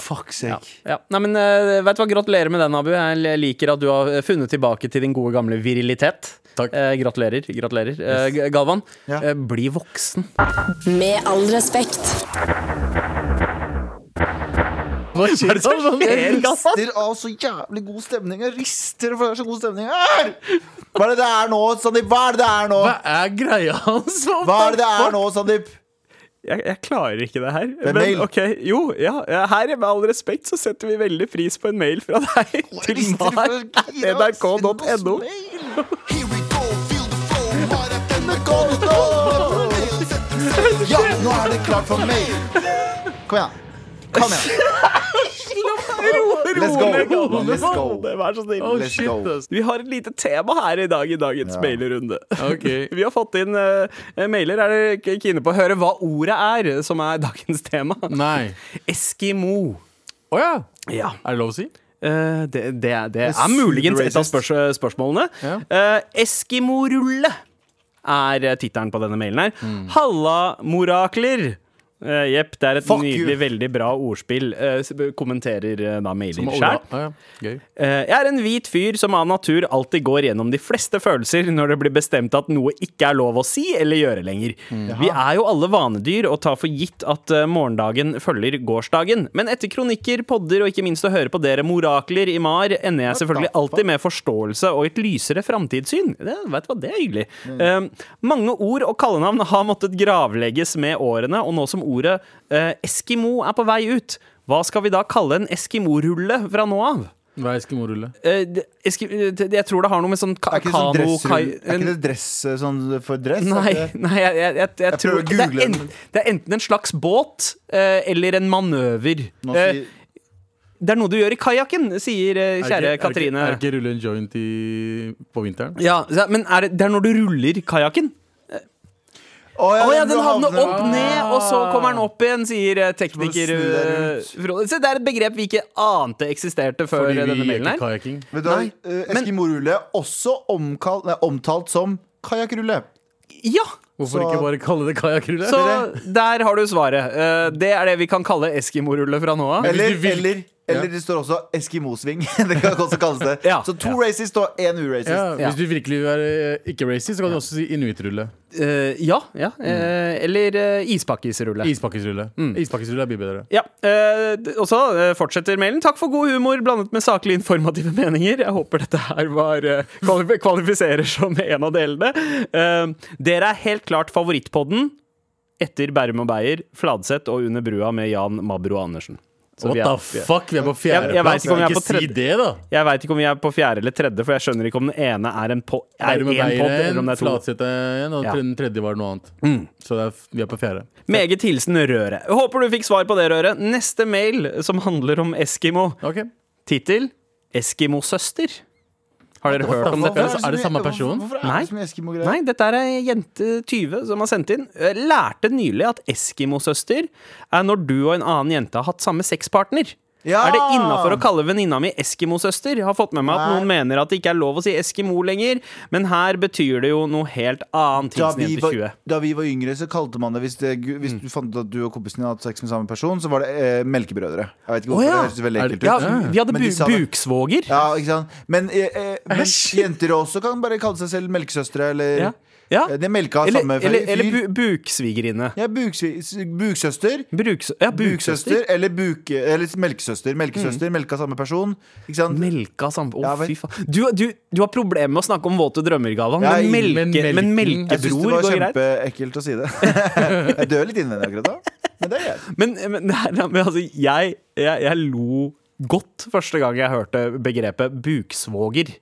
[SPEAKER 3] Fuck sake.
[SPEAKER 5] Ja. Nei, men eh, vet du hva, Gratulerer med den, Abu. Jeg liker at du har funnet tilbake til din gode gamle virilitet.
[SPEAKER 2] Takk.
[SPEAKER 5] Eh, gratulerer. gratulerer Eh, G- Galvan,
[SPEAKER 3] Ja.
[SPEAKER 5] eh, bli
[SPEAKER 3] [laughs]
[SPEAKER 5] voksen.
[SPEAKER 1] Med all respekt.
[SPEAKER 2] Hva skjer
[SPEAKER 5] skjer, Galvan?
[SPEAKER 3] rister av så jævlig god stemning. Jeg rister for det er så god stemning her! Hva er det det er nå, Sandeep? Hva er det det er nå?
[SPEAKER 2] Hva er greia hans?
[SPEAKER 3] Hva er det det er nå, Sandeep?
[SPEAKER 5] Jeg, klarer ikke det her.
[SPEAKER 3] er Men mail.
[SPEAKER 5] jo, ja, eh, her, med all respekt, så setter vi veldig pris på en mail fra deg
[SPEAKER 3] Jeg rister for å gira. Send oss mail.
[SPEAKER 7] Here we go, feel the flow. Bare
[SPEAKER 3] Kom nå! Ja, nå er det klart for mail. Kom igjen. Kom
[SPEAKER 5] [laughs]
[SPEAKER 3] igjen. Let's go. Let's go.
[SPEAKER 5] Vær så snill.
[SPEAKER 2] Oh,
[SPEAKER 3] [laughs] Let's
[SPEAKER 2] shit,
[SPEAKER 3] go.
[SPEAKER 2] ass.
[SPEAKER 5] Vi har et lite tema her i dag i dagens
[SPEAKER 3] Ja.
[SPEAKER 5] mailerunde.
[SPEAKER 2] Ok.
[SPEAKER 5] [laughs] Vi har fått inn eh, mailer. Er dere k- kine på å høre hva ordet er, som er dagens tema?
[SPEAKER 2] Nei.
[SPEAKER 5] Eskimo.
[SPEAKER 2] Å ja.
[SPEAKER 5] Ja.
[SPEAKER 2] Er det lov å si?
[SPEAKER 5] Eh, det, det, er- det
[SPEAKER 3] super
[SPEAKER 5] er muligens et av
[SPEAKER 3] racist.
[SPEAKER 5] spørs spørsmålene.
[SPEAKER 2] Ja.
[SPEAKER 5] Eh, Eskimorulle er eh, tittelen på denne mailen her. Hallamorakler. Eh, Jepp, det er et
[SPEAKER 3] Fuck you.
[SPEAKER 5] nydelig, veldig bra ordspill. Eh, s- kommenterer eh, da mailen sjøl.
[SPEAKER 2] Å, ja. Gøy.
[SPEAKER 5] Eh, Jeg er en hvit fyr som av natur alltid går gjennom de fleste følelser når det blir bestemt at noe ikke er lov å si eller gjøre lenger. Vi er jo alle vanedyr og tar for gitt at eh, morgendagen følger gårsdagen. Men etter kronikker, podder og ikke minst å høre på dere morakler i MAR, ender jeg selvfølgelig alltid med forståelse og et lysere framtidssyn. Det, vet du hva, det er hyggelig. Eh, mange ord og kallenavn har måttet gravlegges med årene, og nå som ordet eh, Eskimo er på vei ut, hva skal vi da kalle en Eskimo-rulle fra nå av?
[SPEAKER 2] Hva er eskimorulle?
[SPEAKER 5] Eh, det- jeg, skri- det- jeg tror det har noe med sånn ka
[SPEAKER 3] Er ikke, det sånn
[SPEAKER 5] kano
[SPEAKER 3] dressrull-
[SPEAKER 5] kai,
[SPEAKER 3] er ikke det dress eh, sånn for dress? Er
[SPEAKER 5] Nei, [laughs]
[SPEAKER 3] ikke det-
[SPEAKER 5] nei jeg, jeg, jeg, jeg tror
[SPEAKER 3] prøver å
[SPEAKER 5] det er,
[SPEAKER 3] google
[SPEAKER 5] en,
[SPEAKER 3] den.
[SPEAKER 5] det er enten en slags båt eh, eller en manøver.
[SPEAKER 3] Nå
[SPEAKER 5] Eh,
[SPEAKER 3] sier-
[SPEAKER 5] det er noe du gjør i kajakken, sier eh,
[SPEAKER 2] Er
[SPEAKER 5] kjære
[SPEAKER 2] ikke-
[SPEAKER 5] Katrine.
[SPEAKER 2] Er ikke, er ikke rulle en joint i, på vinteren?
[SPEAKER 5] ja, ja, men er det, det er når du ruller kajakken.
[SPEAKER 3] Å
[SPEAKER 5] Å ja,
[SPEAKER 3] du
[SPEAKER 5] den havner
[SPEAKER 3] havner- Ah.
[SPEAKER 5] opp ned, og så kommer den opp igjen, sier eh,
[SPEAKER 3] må du
[SPEAKER 5] tekniker
[SPEAKER 3] snu deg
[SPEAKER 5] eh, Frode. Se, det er et begrep vi ikke ante eksisterte før
[SPEAKER 2] Fordi
[SPEAKER 5] eh,
[SPEAKER 2] vi
[SPEAKER 5] denne
[SPEAKER 2] gjør
[SPEAKER 5] mailen
[SPEAKER 2] ikke
[SPEAKER 5] her.
[SPEAKER 2] kajaking.
[SPEAKER 3] Vet du hva, eh, Eskimorulle er også omkalt, nei, omtalt som kajakkrulle.
[SPEAKER 5] Ja!
[SPEAKER 2] Hvorfor
[SPEAKER 3] Så-
[SPEAKER 2] ikke bare kalle det kajakkrulle?
[SPEAKER 5] Så der har du svaret. Eh, det er det vi kan kalle Eskimo-rulle fra nå av.
[SPEAKER 3] Eller,
[SPEAKER 2] du vil-
[SPEAKER 3] eller, eller
[SPEAKER 2] Ja.
[SPEAKER 3] det står også Eskimosving. [laughs] det kan også kalles det.
[SPEAKER 5] Ja.
[SPEAKER 3] Så to racist og én uracist.
[SPEAKER 2] Ja,
[SPEAKER 5] Ja.
[SPEAKER 2] hvis du virkelig vil være eh, ikke racist, så kan du også si inuittrulle.
[SPEAKER 5] Eh, ja. ja. eh, eller uh, ispakkisrulle.
[SPEAKER 2] Ispakkesrulle.
[SPEAKER 5] Mm.
[SPEAKER 2] Ispakkesrulle er mye bedre.
[SPEAKER 5] ja, eh, d- Og så eh, fortsetter mailen. Takk for god humor blandet med saklig informative meninger. Jeg håper dette her var eh, kvalif kvalifiserer som en av delene. Eh, dere er helt klart favorittpodden etter Bærum og Beyer, Fladseth og Under brua med Jan Mabro Andersen. Så
[SPEAKER 2] What
[SPEAKER 5] vi er-
[SPEAKER 2] the fuck? Vi er på
[SPEAKER 5] Jeg- jeg vet
[SPEAKER 2] fjerdeplass.
[SPEAKER 5] ikke om vi er på
[SPEAKER 2] Ikke si
[SPEAKER 5] tredje-
[SPEAKER 2] det, da!
[SPEAKER 5] Jeg veit ikke om vi er på fjerde eller tredje, for jeg skjønner ikke om den ene er en po er
[SPEAKER 2] Er du med
[SPEAKER 5] en pod, eller om
[SPEAKER 2] Beiren,
[SPEAKER 5] det er to.
[SPEAKER 2] Flatseth er en, og
[SPEAKER 5] Ja.
[SPEAKER 2] den tredje var noe annet.
[SPEAKER 3] Mm.
[SPEAKER 2] Så det er, f- vi er på fjerde.
[SPEAKER 5] Meget hilsen Røret. Håper du fikk svar på det, Røret. Neste mail, som handler om Eskimo.
[SPEAKER 2] Ok.
[SPEAKER 5] Tittel Eskimosøster. Har dere hørt om
[SPEAKER 2] Hvorfor
[SPEAKER 5] dette?
[SPEAKER 2] er det så- er det samme person?
[SPEAKER 3] Hvorfor er
[SPEAKER 5] Nei.
[SPEAKER 3] det så mye Eskimo-greier?
[SPEAKER 5] Nei, dette er ei jente 20 som har sendt inn. Eh, Lærte nylig at Eskimo-søster er når du og en annen jente har hatt samme sexpartner.
[SPEAKER 3] Ja!
[SPEAKER 5] Er det innafor å kalle venninna mi Eskimo-søster? Har fått med meg at
[SPEAKER 3] Nei.
[SPEAKER 5] noen mener at det ikke er lov å si Eskimo lenger, men her betyr det jo noe helt annet.
[SPEAKER 3] da
[SPEAKER 5] Hilsen
[SPEAKER 3] vi,
[SPEAKER 5] jente 20.
[SPEAKER 3] var, da vi var yngre, så kalte man det Hvis, det, hvis du fant ut at du og kompisen din hadde hatt sex med samme person, så var det eh, melkebrødre. Jeg vet ikke hvorfor,
[SPEAKER 5] ja.
[SPEAKER 3] det høres veldig
[SPEAKER 2] Er det-
[SPEAKER 3] ekkelt ut.
[SPEAKER 5] Ja, vi hadde
[SPEAKER 3] Men de
[SPEAKER 5] bu
[SPEAKER 3] sa det.
[SPEAKER 5] buksvåger.
[SPEAKER 3] Ja, ikke sant? Men, eh, eh, men jenter også kan bare kalle seg selv melkesøstre, eller
[SPEAKER 5] Ja. Ja.
[SPEAKER 3] Eh, De melka
[SPEAKER 5] Eller,
[SPEAKER 3] samme fyr.
[SPEAKER 5] eller, eller bu buksvigerinne.
[SPEAKER 3] ja, buksvi- s- buksøster.
[SPEAKER 5] Bruks ja,
[SPEAKER 3] Buksøster
[SPEAKER 5] buksøster. Mm.
[SPEAKER 3] eller, buke, eller melkesøster. Melkesøster, melka samme person. Ikke sant?
[SPEAKER 5] Melka samboer.
[SPEAKER 3] Ja,
[SPEAKER 5] Å,
[SPEAKER 3] men-
[SPEAKER 5] fy faen. Du, du, du har problemer med å snakke om våte drømmer, Galvan,
[SPEAKER 3] Ja,
[SPEAKER 5] men, melke,
[SPEAKER 2] men melken-
[SPEAKER 5] men
[SPEAKER 3] jeg syns det
[SPEAKER 5] melkebror
[SPEAKER 3] var
[SPEAKER 5] går greit.
[SPEAKER 3] kjempeekkelt å si det. [laughs] jeg dør litt innvendig akkurat da. Men det er greit.
[SPEAKER 5] Men, men, [laughs] det er- men altså, jeg, jeg, jeg lo godt første gang jeg hørte begrepet buksvåger.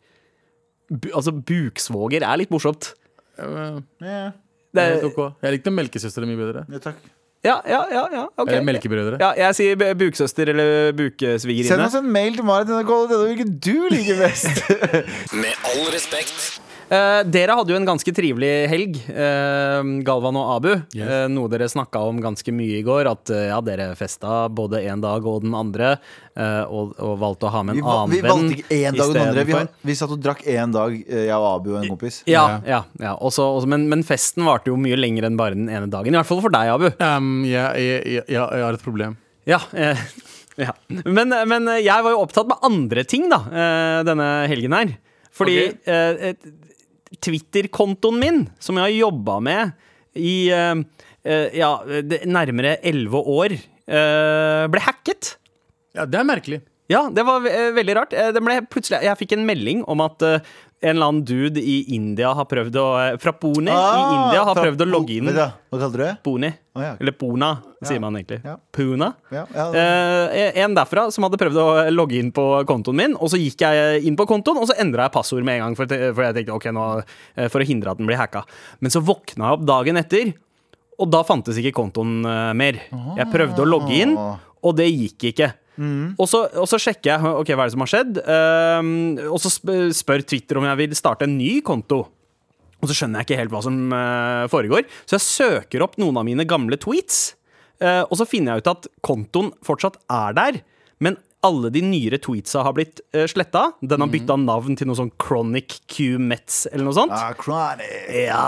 [SPEAKER 5] Bu, altså, buksvåger er litt morsomt.
[SPEAKER 3] Ja,
[SPEAKER 5] Det
[SPEAKER 2] Helt
[SPEAKER 5] er,
[SPEAKER 2] ok.
[SPEAKER 3] Eh,
[SPEAKER 2] Jeg likte melkesøstre mye bedre.
[SPEAKER 3] ja, takk.
[SPEAKER 5] ja, ja, ja, ja, ok.
[SPEAKER 2] Eller melkebrødre.
[SPEAKER 5] Ja, jeg sier bu- buksøster eller
[SPEAKER 3] Send
[SPEAKER 5] buksvigerinne.
[SPEAKER 3] oss en mail til marit.nrk.no denne hvilken du liker
[SPEAKER 5] [laughs]
[SPEAKER 3] best.
[SPEAKER 6] Med all respekt.
[SPEAKER 5] Eh, dere hadde jo en ganske trivelig helg, eh, Galvan og Abu.
[SPEAKER 2] Yes.
[SPEAKER 5] Eh, noe dere snakka om ganske mye i går. At eh, ja, dere festa både en dag og den andre, eh, og, og valgte å ha med
[SPEAKER 3] Vi,
[SPEAKER 5] en
[SPEAKER 3] va-
[SPEAKER 5] annen
[SPEAKER 3] vi
[SPEAKER 5] venn.
[SPEAKER 3] valgte ikke én dag og den andre.
[SPEAKER 5] istedenfor.
[SPEAKER 3] Vi, har, vi satt og drakk én dag, eh, jeg og Abu og en kompis.
[SPEAKER 5] Ja, ja, ja. Også, også, men, men festen varte jo mye lenger enn bare den ene dagen. I hvert fall for deg, Abu.
[SPEAKER 2] Um, jeg, jeg, jeg, jeg har et problem.
[SPEAKER 5] Ja, eh, [laughs] ja. Men, eh, men jeg var jo opptatt med andre ting da eh, denne helgen her. Fordi
[SPEAKER 2] Ok.
[SPEAKER 5] eh, et- Twitter-kontoen min, som jeg har jobba med i eh, eh, ja, det- nærmere elleve år, eh, ble hacket.
[SPEAKER 2] Ja, Det er merkelig.
[SPEAKER 5] Ja, det var eh, veldig rart. Eh, Det ble plutselig, jeg fikk en melding om at eh, en eller annen dude i India har prøvd å eh, Fra Pune i
[SPEAKER 3] Ah,
[SPEAKER 5] India har
[SPEAKER 3] fra-
[SPEAKER 5] prøvd å logge inn.
[SPEAKER 3] Vet
[SPEAKER 5] Eh,
[SPEAKER 3] du Hva hva kalte du det?
[SPEAKER 5] Pune.
[SPEAKER 3] Å, ja.
[SPEAKER 5] Eller Pona, sier man egentlig.
[SPEAKER 3] Ja.
[SPEAKER 5] Puna.
[SPEAKER 3] Ja, ja.
[SPEAKER 5] Eh, en derfra som hadde prøvd å logge inn på kontoen min, og så gikk jeg inn på kontoen, og så endra jeg passord med en gang, for, for jeg tenkte ok, nå eh, for å hindre at den blir hacka. Men så våkna jeg opp dagen etter, og da fantes ikke kontoen eh, mer. Jeg prøvde å logge inn, og det gikk ikke. Og, så, og så sjekker jeg ok, hva er det som har skjedd, Eh, og så sp- spør Twitter om jeg vil starte en ny konto. Og så skjønner jeg ikke helt hva som eh, foregår, så jeg søker opp noen av mine gamle tweets. eh, og så finner jeg ut at kontoen fortsatt er der, men alle de nyere tweetsa har blitt uh, sletta. Den
[SPEAKER 2] Mhm.
[SPEAKER 5] har bytta navn til noe sånn Chronic Q Mets eller noe sånt.
[SPEAKER 3] Ah, chronic.
[SPEAKER 5] eh, Ja,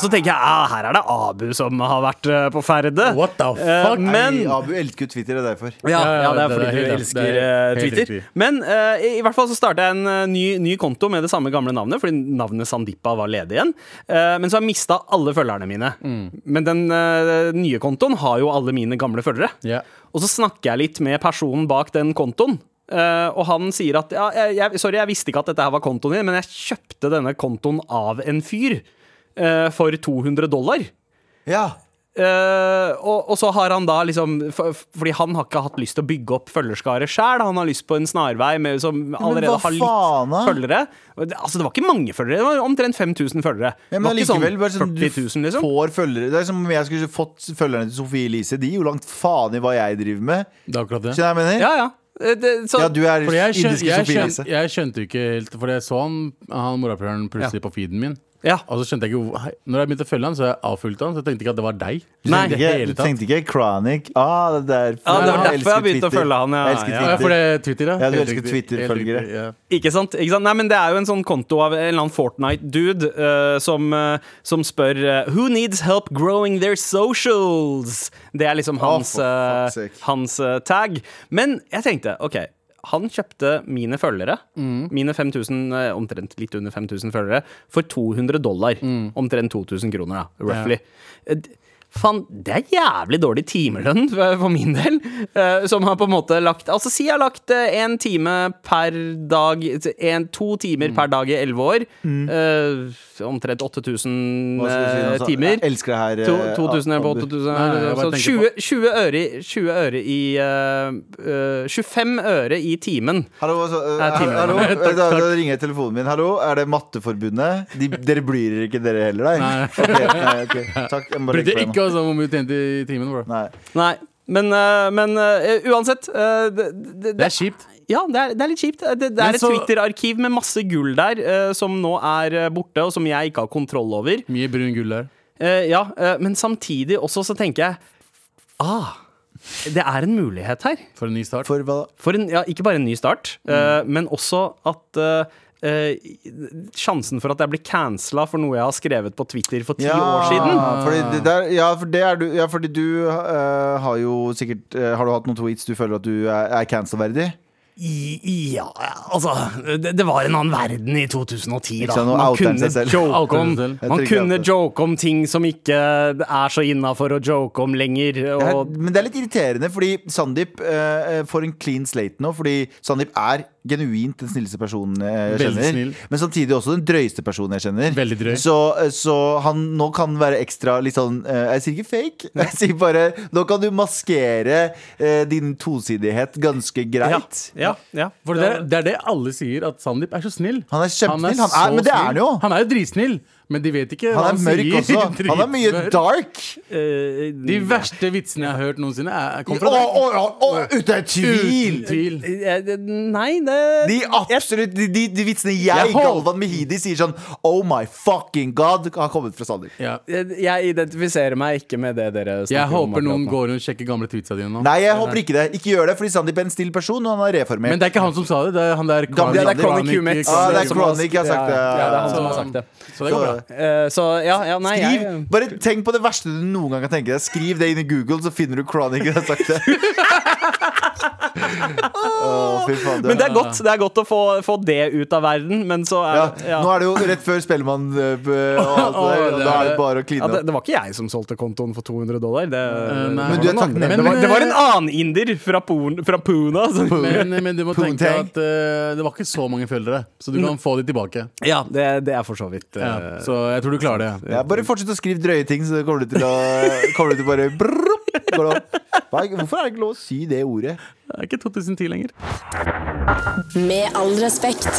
[SPEAKER 5] Så tenker jeg ah, her er det Abu som har vært eh, på ferde.
[SPEAKER 2] What the
[SPEAKER 5] Eh,
[SPEAKER 2] fuck?
[SPEAKER 5] men
[SPEAKER 3] Nei, Abu elsker jo Twitter, det er derfor.
[SPEAKER 5] ja,
[SPEAKER 2] Ja, ja,
[SPEAKER 5] ja, det er
[SPEAKER 2] det- det er
[SPEAKER 5] fordi
[SPEAKER 2] helt
[SPEAKER 5] du
[SPEAKER 2] riktig.
[SPEAKER 5] elsker
[SPEAKER 2] Det er
[SPEAKER 5] eh,
[SPEAKER 2] helt
[SPEAKER 5] Twitter.
[SPEAKER 2] riktig.
[SPEAKER 5] Men eh, i, i hvert fall så starta jeg en eh, ny, ny konto med det samme gamle navnet, fordi navnet Sandipa var ledig igjen. Eh, men så har jeg mista alle følgerne mine.
[SPEAKER 2] Mm.
[SPEAKER 5] Men den eh, nye kontoen har jo alle mine gamle følgere.
[SPEAKER 2] Ja.
[SPEAKER 5] Og så snakker jeg litt med personen bak den kontoen. eh, og han sier at ja, jeg, jeg, sorry, jeg visste ikke at dette her var kontoen din, men jeg kjøpte denne kontoen av en fyr eh, for 200 dollar.
[SPEAKER 3] Ja.
[SPEAKER 5] Eh, og, og så har han da liksom for, Fordi han har ikke hatt lyst til å bygge opp følgerskare sjæl. Han har lyst på en snarvei med, som allerede
[SPEAKER 3] hva
[SPEAKER 5] har
[SPEAKER 3] faen,
[SPEAKER 5] litt
[SPEAKER 3] da?
[SPEAKER 5] følgere. Og Det, altså, det var ikke mange følgere, det var omtrent 5000 følgere.
[SPEAKER 3] Ja,
[SPEAKER 5] det
[SPEAKER 3] men
[SPEAKER 5] var ikke
[SPEAKER 3] allikevel, bare
[SPEAKER 5] sånn
[SPEAKER 3] sånn, du
[SPEAKER 5] 40 000, liksom.
[SPEAKER 3] får følgere Det er som om jeg skulle fått følgerne til Sofie Elise. De gir jo langt faen i hva jeg driver med.
[SPEAKER 2] Det er akkurat det.
[SPEAKER 3] Skjønner du hva jeg mener?
[SPEAKER 5] Ja, ja. Eh, Det, så,
[SPEAKER 3] Ja, du er
[SPEAKER 2] Fordi jeg, skjøn,
[SPEAKER 3] indiske
[SPEAKER 2] jeg,
[SPEAKER 3] Sofie
[SPEAKER 2] skjøn,
[SPEAKER 3] Elise.
[SPEAKER 2] jeg skjønte jo ikke helt Fordi jeg så han, han morapuleren plutselig på feeden min.
[SPEAKER 5] ja.
[SPEAKER 2] Og så skjønte jeg ikke hvor- hei, Når jeg begynte å følge han, så jeg avfulgte han, så jeg tenkte ikke at det var deg.
[SPEAKER 3] Du
[SPEAKER 5] Nei,
[SPEAKER 3] tenkte
[SPEAKER 2] i det
[SPEAKER 3] ikke,
[SPEAKER 2] hele
[SPEAKER 3] du
[SPEAKER 2] tatt.
[SPEAKER 3] tenkte ikke Chronic. Ah, det, er derfor
[SPEAKER 5] Ja, det var
[SPEAKER 3] jeg
[SPEAKER 5] derfor
[SPEAKER 3] elsker
[SPEAKER 5] jeg begynte å
[SPEAKER 3] Twitter.
[SPEAKER 5] følge han, ja,
[SPEAKER 3] Jeg elsker
[SPEAKER 5] ja.
[SPEAKER 2] Ja,
[SPEAKER 3] Twitter.
[SPEAKER 2] for det er Twitter, ja.
[SPEAKER 3] Ja, du
[SPEAKER 2] Helt
[SPEAKER 3] elsker
[SPEAKER 2] riktig,
[SPEAKER 3] Twitter-følgere.
[SPEAKER 2] helt riktig, ja.
[SPEAKER 5] Ikke sant? ikke sant? Nei, men Det er jo en sånn konto av en eller annen Fortnite-dude eh, som, eh, som spør eh, Who needs help growing their socials? Det er liksom hans,
[SPEAKER 3] for fuck's
[SPEAKER 5] eh,
[SPEAKER 3] sake.
[SPEAKER 5] hans eh, tag. Men jeg tenkte, OK. Han kjøpte mine følgere,
[SPEAKER 3] Mm.
[SPEAKER 5] mine 5000, eh, omtrent litt under 5000 følgere, for 200 dollar.
[SPEAKER 3] Mm.
[SPEAKER 5] Omtrent 2000 kroner, da, roughly. Eh, d- Faen, det er jævlig dårlig timelønn for, for min del. eh, som har på en måte lagt Altså, si jeg har lagt én time per dag en, To timer per dag i elleve år. eh, omtrent 8000
[SPEAKER 3] Hva skal jeg si nå,
[SPEAKER 5] eh,
[SPEAKER 3] så-
[SPEAKER 5] timer.
[SPEAKER 3] Jeg elsker det her.
[SPEAKER 5] To-
[SPEAKER 3] eh,
[SPEAKER 5] 2000 eller på eh,
[SPEAKER 3] Abu.
[SPEAKER 5] 8000
[SPEAKER 2] Nei, nei, jeg bare
[SPEAKER 5] så
[SPEAKER 2] tenker
[SPEAKER 5] 20, 20, øre, i- 20 øre i eh, eh, 25 øre i timen.
[SPEAKER 3] Hallo, altså, eh,
[SPEAKER 5] Nei, timer.
[SPEAKER 3] hallo? Da, da ringer jeg telefonen min. Hallo, er det Matteforbundet? De, dere bryr ikke dere heller, nei? Ok, nei, ok. Takk. Jeg må bare
[SPEAKER 2] Brydde
[SPEAKER 3] legge på
[SPEAKER 2] ikke
[SPEAKER 3] igjen.
[SPEAKER 2] altså hvor mye du tjente i timen. Bro.
[SPEAKER 3] Nei.
[SPEAKER 5] Nei. Men, eh, men eh, uansett eh, det, det,
[SPEAKER 2] Det er kjipt.
[SPEAKER 5] Ja, det er, det er litt kjipt. Det, det
[SPEAKER 2] Men
[SPEAKER 5] er et
[SPEAKER 2] så-
[SPEAKER 5] Twitter-arkiv med masse gull der, eh, som nå er eh, borte, og som jeg ikke har kontroll over.
[SPEAKER 2] Mye brun gull der.
[SPEAKER 5] Eh, ja, eh, men samtidig også så tenker jeg Ah, det er en mulighet her.
[SPEAKER 2] For en ny start.
[SPEAKER 3] For hva da?
[SPEAKER 5] For en, ja, ikke bare en ny start, eh,
[SPEAKER 2] Mm.
[SPEAKER 5] men også at eh, eh, Sjansen for at jeg blir cancela for noe jeg har skrevet på Twitter for ti år siden.
[SPEAKER 3] Fordi det der, ja, for det er du, ja, fordi du eh, har jo sikkert eh, Har du hatt noen tweets du føler at du er, er cancel-verdig?
[SPEAKER 5] I, ja, altså det, det var en annen verden i 2010, da.
[SPEAKER 3] sant, nå
[SPEAKER 5] Man
[SPEAKER 3] outer han
[SPEAKER 5] kunne,
[SPEAKER 3] seg selv.
[SPEAKER 5] joke
[SPEAKER 2] Outer
[SPEAKER 5] om,
[SPEAKER 2] seg selv.
[SPEAKER 3] Jeg
[SPEAKER 5] man
[SPEAKER 3] trykker
[SPEAKER 5] kunne
[SPEAKER 3] outer.
[SPEAKER 5] joke om ting som ikke er så innafor å joke om lenger.
[SPEAKER 3] Det er,
[SPEAKER 5] Og,
[SPEAKER 3] men det er litt irriterende, fordi Sandeep eh, får en clean slate nå. Fordi Sandeep er genuint den snilleste personen eh, jeg
[SPEAKER 2] Veldig
[SPEAKER 3] kjenner.
[SPEAKER 2] snill.
[SPEAKER 3] Men samtidig også den drøyeste personen jeg kjenner.
[SPEAKER 2] Veldig drøy.
[SPEAKER 3] Så, eh, så han nå kan være ekstra litt sånn eh, Jeg sier ikke fake, [laughs] jeg sier bare Nå kan du maskere eh, din tosidighet ganske
[SPEAKER 5] ja,
[SPEAKER 3] greit.
[SPEAKER 5] ja, ja.
[SPEAKER 2] For det, er- det er det alle sier, at Sandeep er så snill.
[SPEAKER 3] Han er kjempesnill. Han er-
[SPEAKER 2] så
[SPEAKER 3] men det er han
[SPEAKER 2] snill.
[SPEAKER 3] jo.
[SPEAKER 2] Han er jo dritsnill, men de vet ikke
[SPEAKER 3] Han er mørk
[SPEAKER 2] [laughs]
[SPEAKER 3] også. Han er mye
[SPEAKER 2] Dritmørk.
[SPEAKER 3] dark.
[SPEAKER 5] Eh,
[SPEAKER 2] De verste vitsene jeg har hørt noensinne, er, kom
[SPEAKER 3] Å,
[SPEAKER 2] fra deg.
[SPEAKER 3] å, å, å, Uten tvil!
[SPEAKER 2] Uten tvil.
[SPEAKER 5] eh, eh, Nei, det
[SPEAKER 3] De absolutt, de, de, de vitsene jeg,
[SPEAKER 2] Jeg håper-
[SPEAKER 3] Galvan Mehidi, sier sånn Oh my fucking god, har kommet fra Sandeep.
[SPEAKER 2] Ja.
[SPEAKER 5] Jeg jeg identifiserer meg ikke med det dere snakker
[SPEAKER 2] Jeg
[SPEAKER 5] om.
[SPEAKER 2] håper
[SPEAKER 5] akkurat
[SPEAKER 2] noen
[SPEAKER 5] nå.
[SPEAKER 2] går og sjekker gamle tweetsa dine nå.
[SPEAKER 3] Nei, jeg håper ikke det. Ikke gjør det, fordi Sandeep er en still person, og han er reformert.
[SPEAKER 2] Men det er ikke han som sa det. Det er han der
[SPEAKER 3] Gamle- det er
[SPEAKER 5] Chronic QMX.
[SPEAKER 3] ah, det er
[SPEAKER 2] som-
[SPEAKER 3] Chronic, jeg har sagt det.
[SPEAKER 5] Ja, ja, det er han som har
[SPEAKER 2] Så-
[SPEAKER 5] sagt det.
[SPEAKER 2] Så det går bra.
[SPEAKER 5] Eh, Så ja, ja nei jeg-
[SPEAKER 3] Skriv, bare tenk på det verste du noen gang kan tenke deg. Skriv det inn i Google, så finner du Chronic. Jeg har sagt
[SPEAKER 2] [laughs]
[SPEAKER 3] det. Å, fy faen, det
[SPEAKER 5] Men det er godt Det er godt å få, få det ut av verden, men så
[SPEAKER 3] ja,
[SPEAKER 5] er
[SPEAKER 3] Nå er det jo rett før Spellemann øh, og
[SPEAKER 2] [laughs]
[SPEAKER 3] alt det der.
[SPEAKER 2] Å,
[SPEAKER 3] og
[SPEAKER 2] det
[SPEAKER 3] Da er
[SPEAKER 2] er-
[SPEAKER 3] det bare å
[SPEAKER 5] ja,
[SPEAKER 3] kline
[SPEAKER 5] det,
[SPEAKER 3] opp.
[SPEAKER 5] det var ikke jeg som solgte kontoen for 200 dollar. Det,
[SPEAKER 2] Eh,
[SPEAKER 8] Eh,
[SPEAKER 2] nei.
[SPEAKER 3] Men du er
[SPEAKER 5] det, var noen
[SPEAKER 3] takknemlig.
[SPEAKER 5] andre. det, var, det var en annen inder fra, Pon, fra Puna. Som,
[SPEAKER 2] Men, men du må
[SPEAKER 3] Pung
[SPEAKER 2] tenke
[SPEAKER 3] Tang. Mm.
[SPEAKER 2] at eh, det var ikke så mange følgere, så du kan få de tilbake.
[SPEAKER 5] [laughs] ja, det, det er for så vidt eh,
[SPEAKER 2] Ja, så jeg tror du klarer det.
[SPEAKER 3] Ja, bare fortsett å skrive drøye ting, så kommer du til å kommer du til bare brrrup, går det opp. Hva er- Hvorfor er det ikke lov å si det ordet?
[SPEAKER 2] Det er ikke 2010 lenger.
[SPEAKER 1] Med all respekt.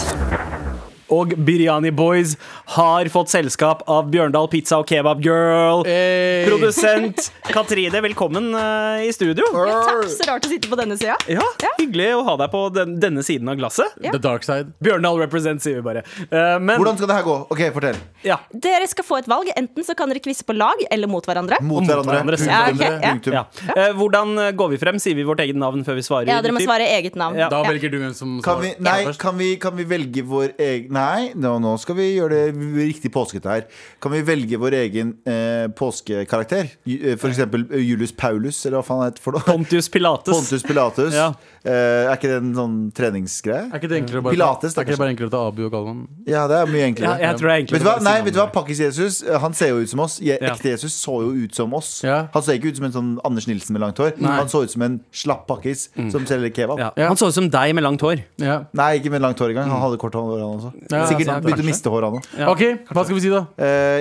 [SPEAKER 5] Og Biryani Boys har fått selskap av Bjørndal Pizza og Kebab Girl.
[SPEAKER 2] Hey.
[SPEAKER 5] Produsent Katrine, velkommen eh, i studio.
[SPEAKER 8] Jo, takk, så rart å sitte på denne sida.
[SPEAKER 5] Ja, Hyggelig å ha deg på den, denne siden av glasset.
[SPEAKER 8] Ja.
[SPEAKER 2] The Dark Side.
[SPEAKER 5] Bjørndal represent, sier vi bare. Eh, men
[SPEAKER 3] Hvordan skal det her gå? Ok, fortell.
[SPEAKER 5] Ja,
[SPEAKER 8] Dere skal få et valg. Enten så kan dere quize på lag eller mot hverandre.
[SPEAKER 3] Mot
[SPEAKER 5] mot
[SPEAKER 3] hverandre.
[SPEAKER 5] hverandre. Ja,
[SPEAKER 8] Ja, ok, ja.
[SPEAKER 5] ja. Eh, hvordan eh, går vi frem? Sier vi vårt eget navn før vi svarer?
[SPEAKER 8] ja, dere må
[SPEAKER 5] gutter?
[SPEAKER 8] svare eget navn.
[SPEAKER 5] Ja.
[SPEAKER 2] Da
[SPEAKER 8] Ja.
[SPEAKER 2] velger du hvem som
[SPEAKER 3] Kan vi,
[SPEAKER 2] svarer
[SPEAKER 3] nei,
[SPEAKER 2] først.
[SPEAKER 3] kan vi, kan vi velge vår egen Nei, nå, nå skal vi gjøre det riktig påskete her. Kan vi velge vår egen eh, påskekarakter? Ju- eh, For eksempel eh, Julius Paulus, eller hva faen han heter for noe?
[SPEAKER 5] Pontius Pilates.
[SPEAKER 3] Pontus Pilatus.
[SPEAKER 5] Ja.
[SPEAKER 3] Eh, er ikke det en sånn treningsgreie?
[SPEAKER 2] Er ikke det enklere å bare,
[SPEAKER 3] Pilates, da,
[SPEAKER 2] er ikke det bare enklere å ta Abu og Galvan?
[SPEAKER 3] Ja, det er mye
[SPEAKER 5] Ja,
[SPEAKER 3] enklere.
[SPEAKER 5] jeg tror det er
[SPEAKER 3] Vet du
[SPEAKER 5] enklere
[SPEAKER 3] hva?
[SPEAKER 5] å bare si
[SPEAKER 3] Nei,
[SPEAKER 5] navnet.
[SPEAKER 3] vet du hva? Pakkis-Jesus han ser jo ut som oss. Je-
[SPEAKER 5] Ja.
[SPEAKER 3] Ekte Jesus så jo ut som oss.
[SPEAKER 2] Ja.
[SPEAKER 3] Han så ikke ut som en sånn Anders Nilsen med langt hår. Han så ut som en slapp pakkis som selger kebab.
[SPEAKER 5] Ja. Han så ut som deg med langt hår.
[SPEAKER 2] Ja.
[SPEAKER 3] Nei, ikke med langt hår engang. Han hadde kort hår, han også.
[SPEAKER 2] Ja,
[SPEAKER 3] Sikkert
[SPEAKER 2] sant,
[SPEAKER 3] begynte
[SPEAKER 2] kanskje.
[SPEAKER 3] å miste hår, han òg.
[SPEAKER 2] OK, hva skal vi si, da?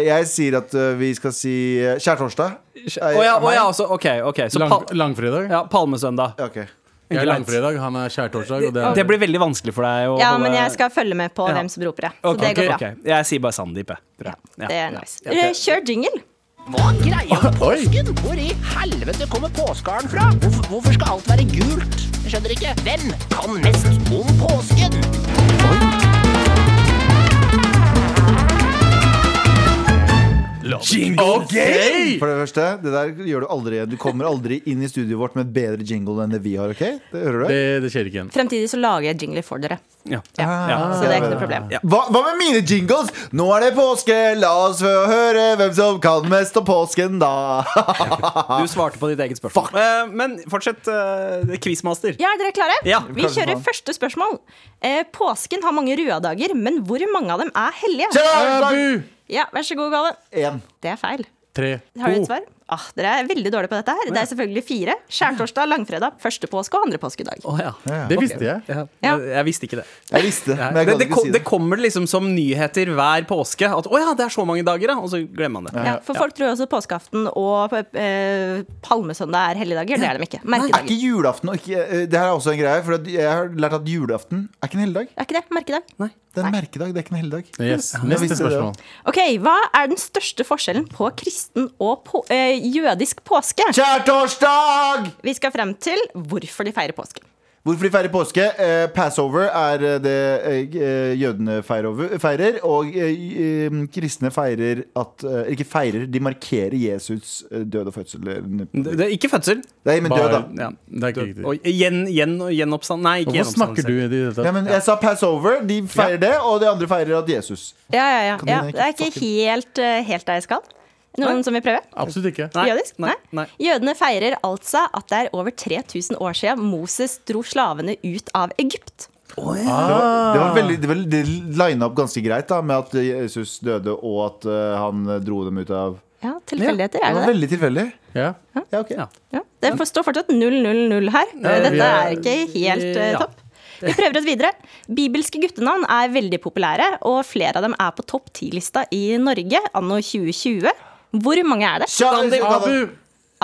[SPEAKER 3] jeg sier at eh, vi skal si uh, skjærtorsdag.
[SPEAKER 5] Å ja, å ja, altså, ok, ok. Så
[SPEAKER 2] eh, Lang,
[SPEAKER 5] pal
[SPEAKER 2] langfredag?
[SPEAKER 5] ja, palmesøndag.
[SPEAKER 3] Ja, ok.
[SPEAKER 2] Jeg er
[SPEAKER 5] Greit.
[SPEAKER 2] langfredag, han er skjærtorsdag. og det er-
[SPEAKER 5] Det blir veldig vanskelig for deg å
[SPEAKER 8] Ja,
[SPEAKER 5] holde-
[SPEAKER 8] men jeg skal følge med på
[SPEAKER 5] Ja.
[SPEAKER 8] hvem som roper det. Så
[SPEAKER 5] Ok,
[SPEAKER 8] det går bra.
[SPEAKER 5] ok, ok. Jeg sier bare Sandeep, jeg. tror jeg. Ja,
[SPEAKER 8] Det
[SPEAKER 5] ja.
[SPEAKER 8] er nice. Eh, Kjør jingle.
[SPEAKER 9] Hva er greia med
[SPEAKER 2] Oi.
[SPEAKER 9] påsken? Hvor i helvete kommer påskeharen fra? Hvorfor, hvorfor skal alt være gult? Jeg skjønner ikke. Hvem kan mest om påsken?
[SPEAKER 2] Ok!
[SPEAKER 3] For det første, det der gjør du aldri igjen. Du kommer aldri inn i studioet vårt med bedre jingle enn det vi har. ok? Det hører du?
[SPEAKER 2] Det, det skjer ikke igjen.
[SPEAKER 8] Fremtidig så lager jeg jingler for dere.
[SPEAKER 5] Ja.
[SPEAKER 8] Ja.
[SPEAKER 5] Ja.
[SPEAKER 8] Så det er ikke noe problem.
[SPEAKER 3] Hva, hva med mine jingles? Nå er det påske, la oss få høre hvem som kan mest om påsken, da.
[SPEAKER 2] Ah.
[SPEAKER 5] Du svarte på ditt eget spørsmål. Eh, men fortsett, eh, quizmaster.
[SPEAKER 8] Ja, er dere klare?
[SPEAKER 5] Ja. sånn.
[SPEAKER 8] Vi kjører første spørsmål. Eh, påsken har mange røddager, men hvor mange av dem er hellige?
[SPEAKER 3] Kjære
[SPEAKER 2] Abu!
[SPEAKER 8] Ja, Vær så god, Gale.
[SPEAKER 3] En.
[SPEAKER 8] Det er feil.
[SPEAKER 2] Tre.
[SPEAKER 8] Har dere
[SPEAKER 5] Oh.
[SPEAKER 2] to.
[SPEAKER 8] et svar? Ah, dere er veldig dårlige på dette her. Det er selvfølgelig fire. Skjærtorsdag, langfredag, første påske og andre påskedag.
[SPEAKER 5] Å, ja.
[SPEAKER 2] Det visste jeg.
[SPEAKER 5] Ja.
[SPEAKER 8] Ja.
[SPEAKER 5] Jeg, jeg visste ikke det.
[SPEAKER 3] Jeg visste det, men jeg
[SPEAKER 5] det,
[SPEAKER 3] gadd
[SPEAKER 5] det,
[SPEAKER 3] ikke
[SPEAKER 5] kom,
[SPEAKER 3] si
[SPEAKER 5] det
[SPEAKER 3] det.
[SPEAKER 5] kommer liksom som nyheter hver påske. At 'å ja, det er så mange dager', ja. Og så glemmer man det.
[SPEAKER 8] Ja, for folk tror også påskeaften og eh, palmesøndag er helligdager. Det er de ikke.
[SPEAKER 3] Er ikke
[SPEAKER 8] Merkedager.
[SPEAKER 3] julaften og ikke, eh, Det her er også en greie, for at jeg har lært at julaften er ikke en helligdag.
[SPEAKER 8] Er ikke det merkedag?
[SPEAKER 5] Nei.
[SPEAKER 3] Det er en merkedag, det er ikke en helligdag.
[SPEAKER 2] Yes.
[SPEAKER 3] Ja, jeg
[SPEAKER 2] Neste
[SPEAKER 3] visste det.
[SPEAKER 2] spørsmål.
[SPEAKER 8] Ok, Hva er den største forskjellen på kristen og på, eh, jødisk påske?
[SPEAKER 3] Kjærtorsdag!
[SPEAKER 8] Vi skal frem til hvorfor de feirer påske.
[SPEAKER 3] Hvorfor de feirer påske? Eh, Passover er eh, det eh, jødene feirer, over- feirer og eh, eh, kristne feirer at eh, Ikke feirer, de markerer Jesus eh, død og fødsel.
[SPEAKER 5] Det det er ikke fødsel.
[SPEAKER 3] Nei, men død, da.
[SPEAKER 2] Bare- ja, det er ikke riktig.
[SPEAKER 5] Og gjen, gjen, gjenoppstand Nei, ikke
[SPEAKER 2] Hvorfor snakker
[SPEAKER 5] gjenoppstandelse.
[SPEAKER 2] du i det hele
[SPEAKER 3] Nei,
[SPEAKER 2] tatt?
[SPEAKER 3] men jeg sa Passover, de feirer det, og de andre feirer at Jesus.
[SPEAKER 8] Ja, ja, ja.
[SPEAKER 3] Kan
[SPEAKER 8] ja
[SPEAKER 3] du
[SPEAKER 8] det er ikke helt, eh, helt der jeg skal. Noen som vil prøve?
[SPEAKER 2] Absolutt ikke.
[SPEAKER 5] Nei,
[SPEAKER 8] Jødisk?
[SPEAKER 5] nei, nei.
[SPEAKER 8] Jødene feirer altså at det er over 3000 år siden Moses dro slavene ut av Egypt.
[SPEAKER 5] Ah.
[SPEAKER 3] Det var veldig, det, var, det lina opp ganske greit da med at Jesus døde, og at eh, han dro dem ut av
[SPEAKER 8] Ja, tilfeldigheter er
[SPEAKER 3] Det
[SPEAKER 8] det
[SPEAKER 3] var
[SPEAKER 8] det.
[SPEAKER 3] veldig tilfeldig.
[SPEAKER 2] Ja.
[SPEAKER 3] Ja, ok.
[SPEAKER 8] Ja. Det får- står fortsatt 000 her. Dette er ikke helt eh,
[SPEAKER 5] Ja.
[SPEAKER 8] topp. Vi prøver oss videre. Bibelske guttenavn er veldig populære, og flere av dem er på topp 10-lista i Norge anno 2020. Hvor mange er det?
[SPEAKER 3] Shadi-
[SPEAKER 2] Abu!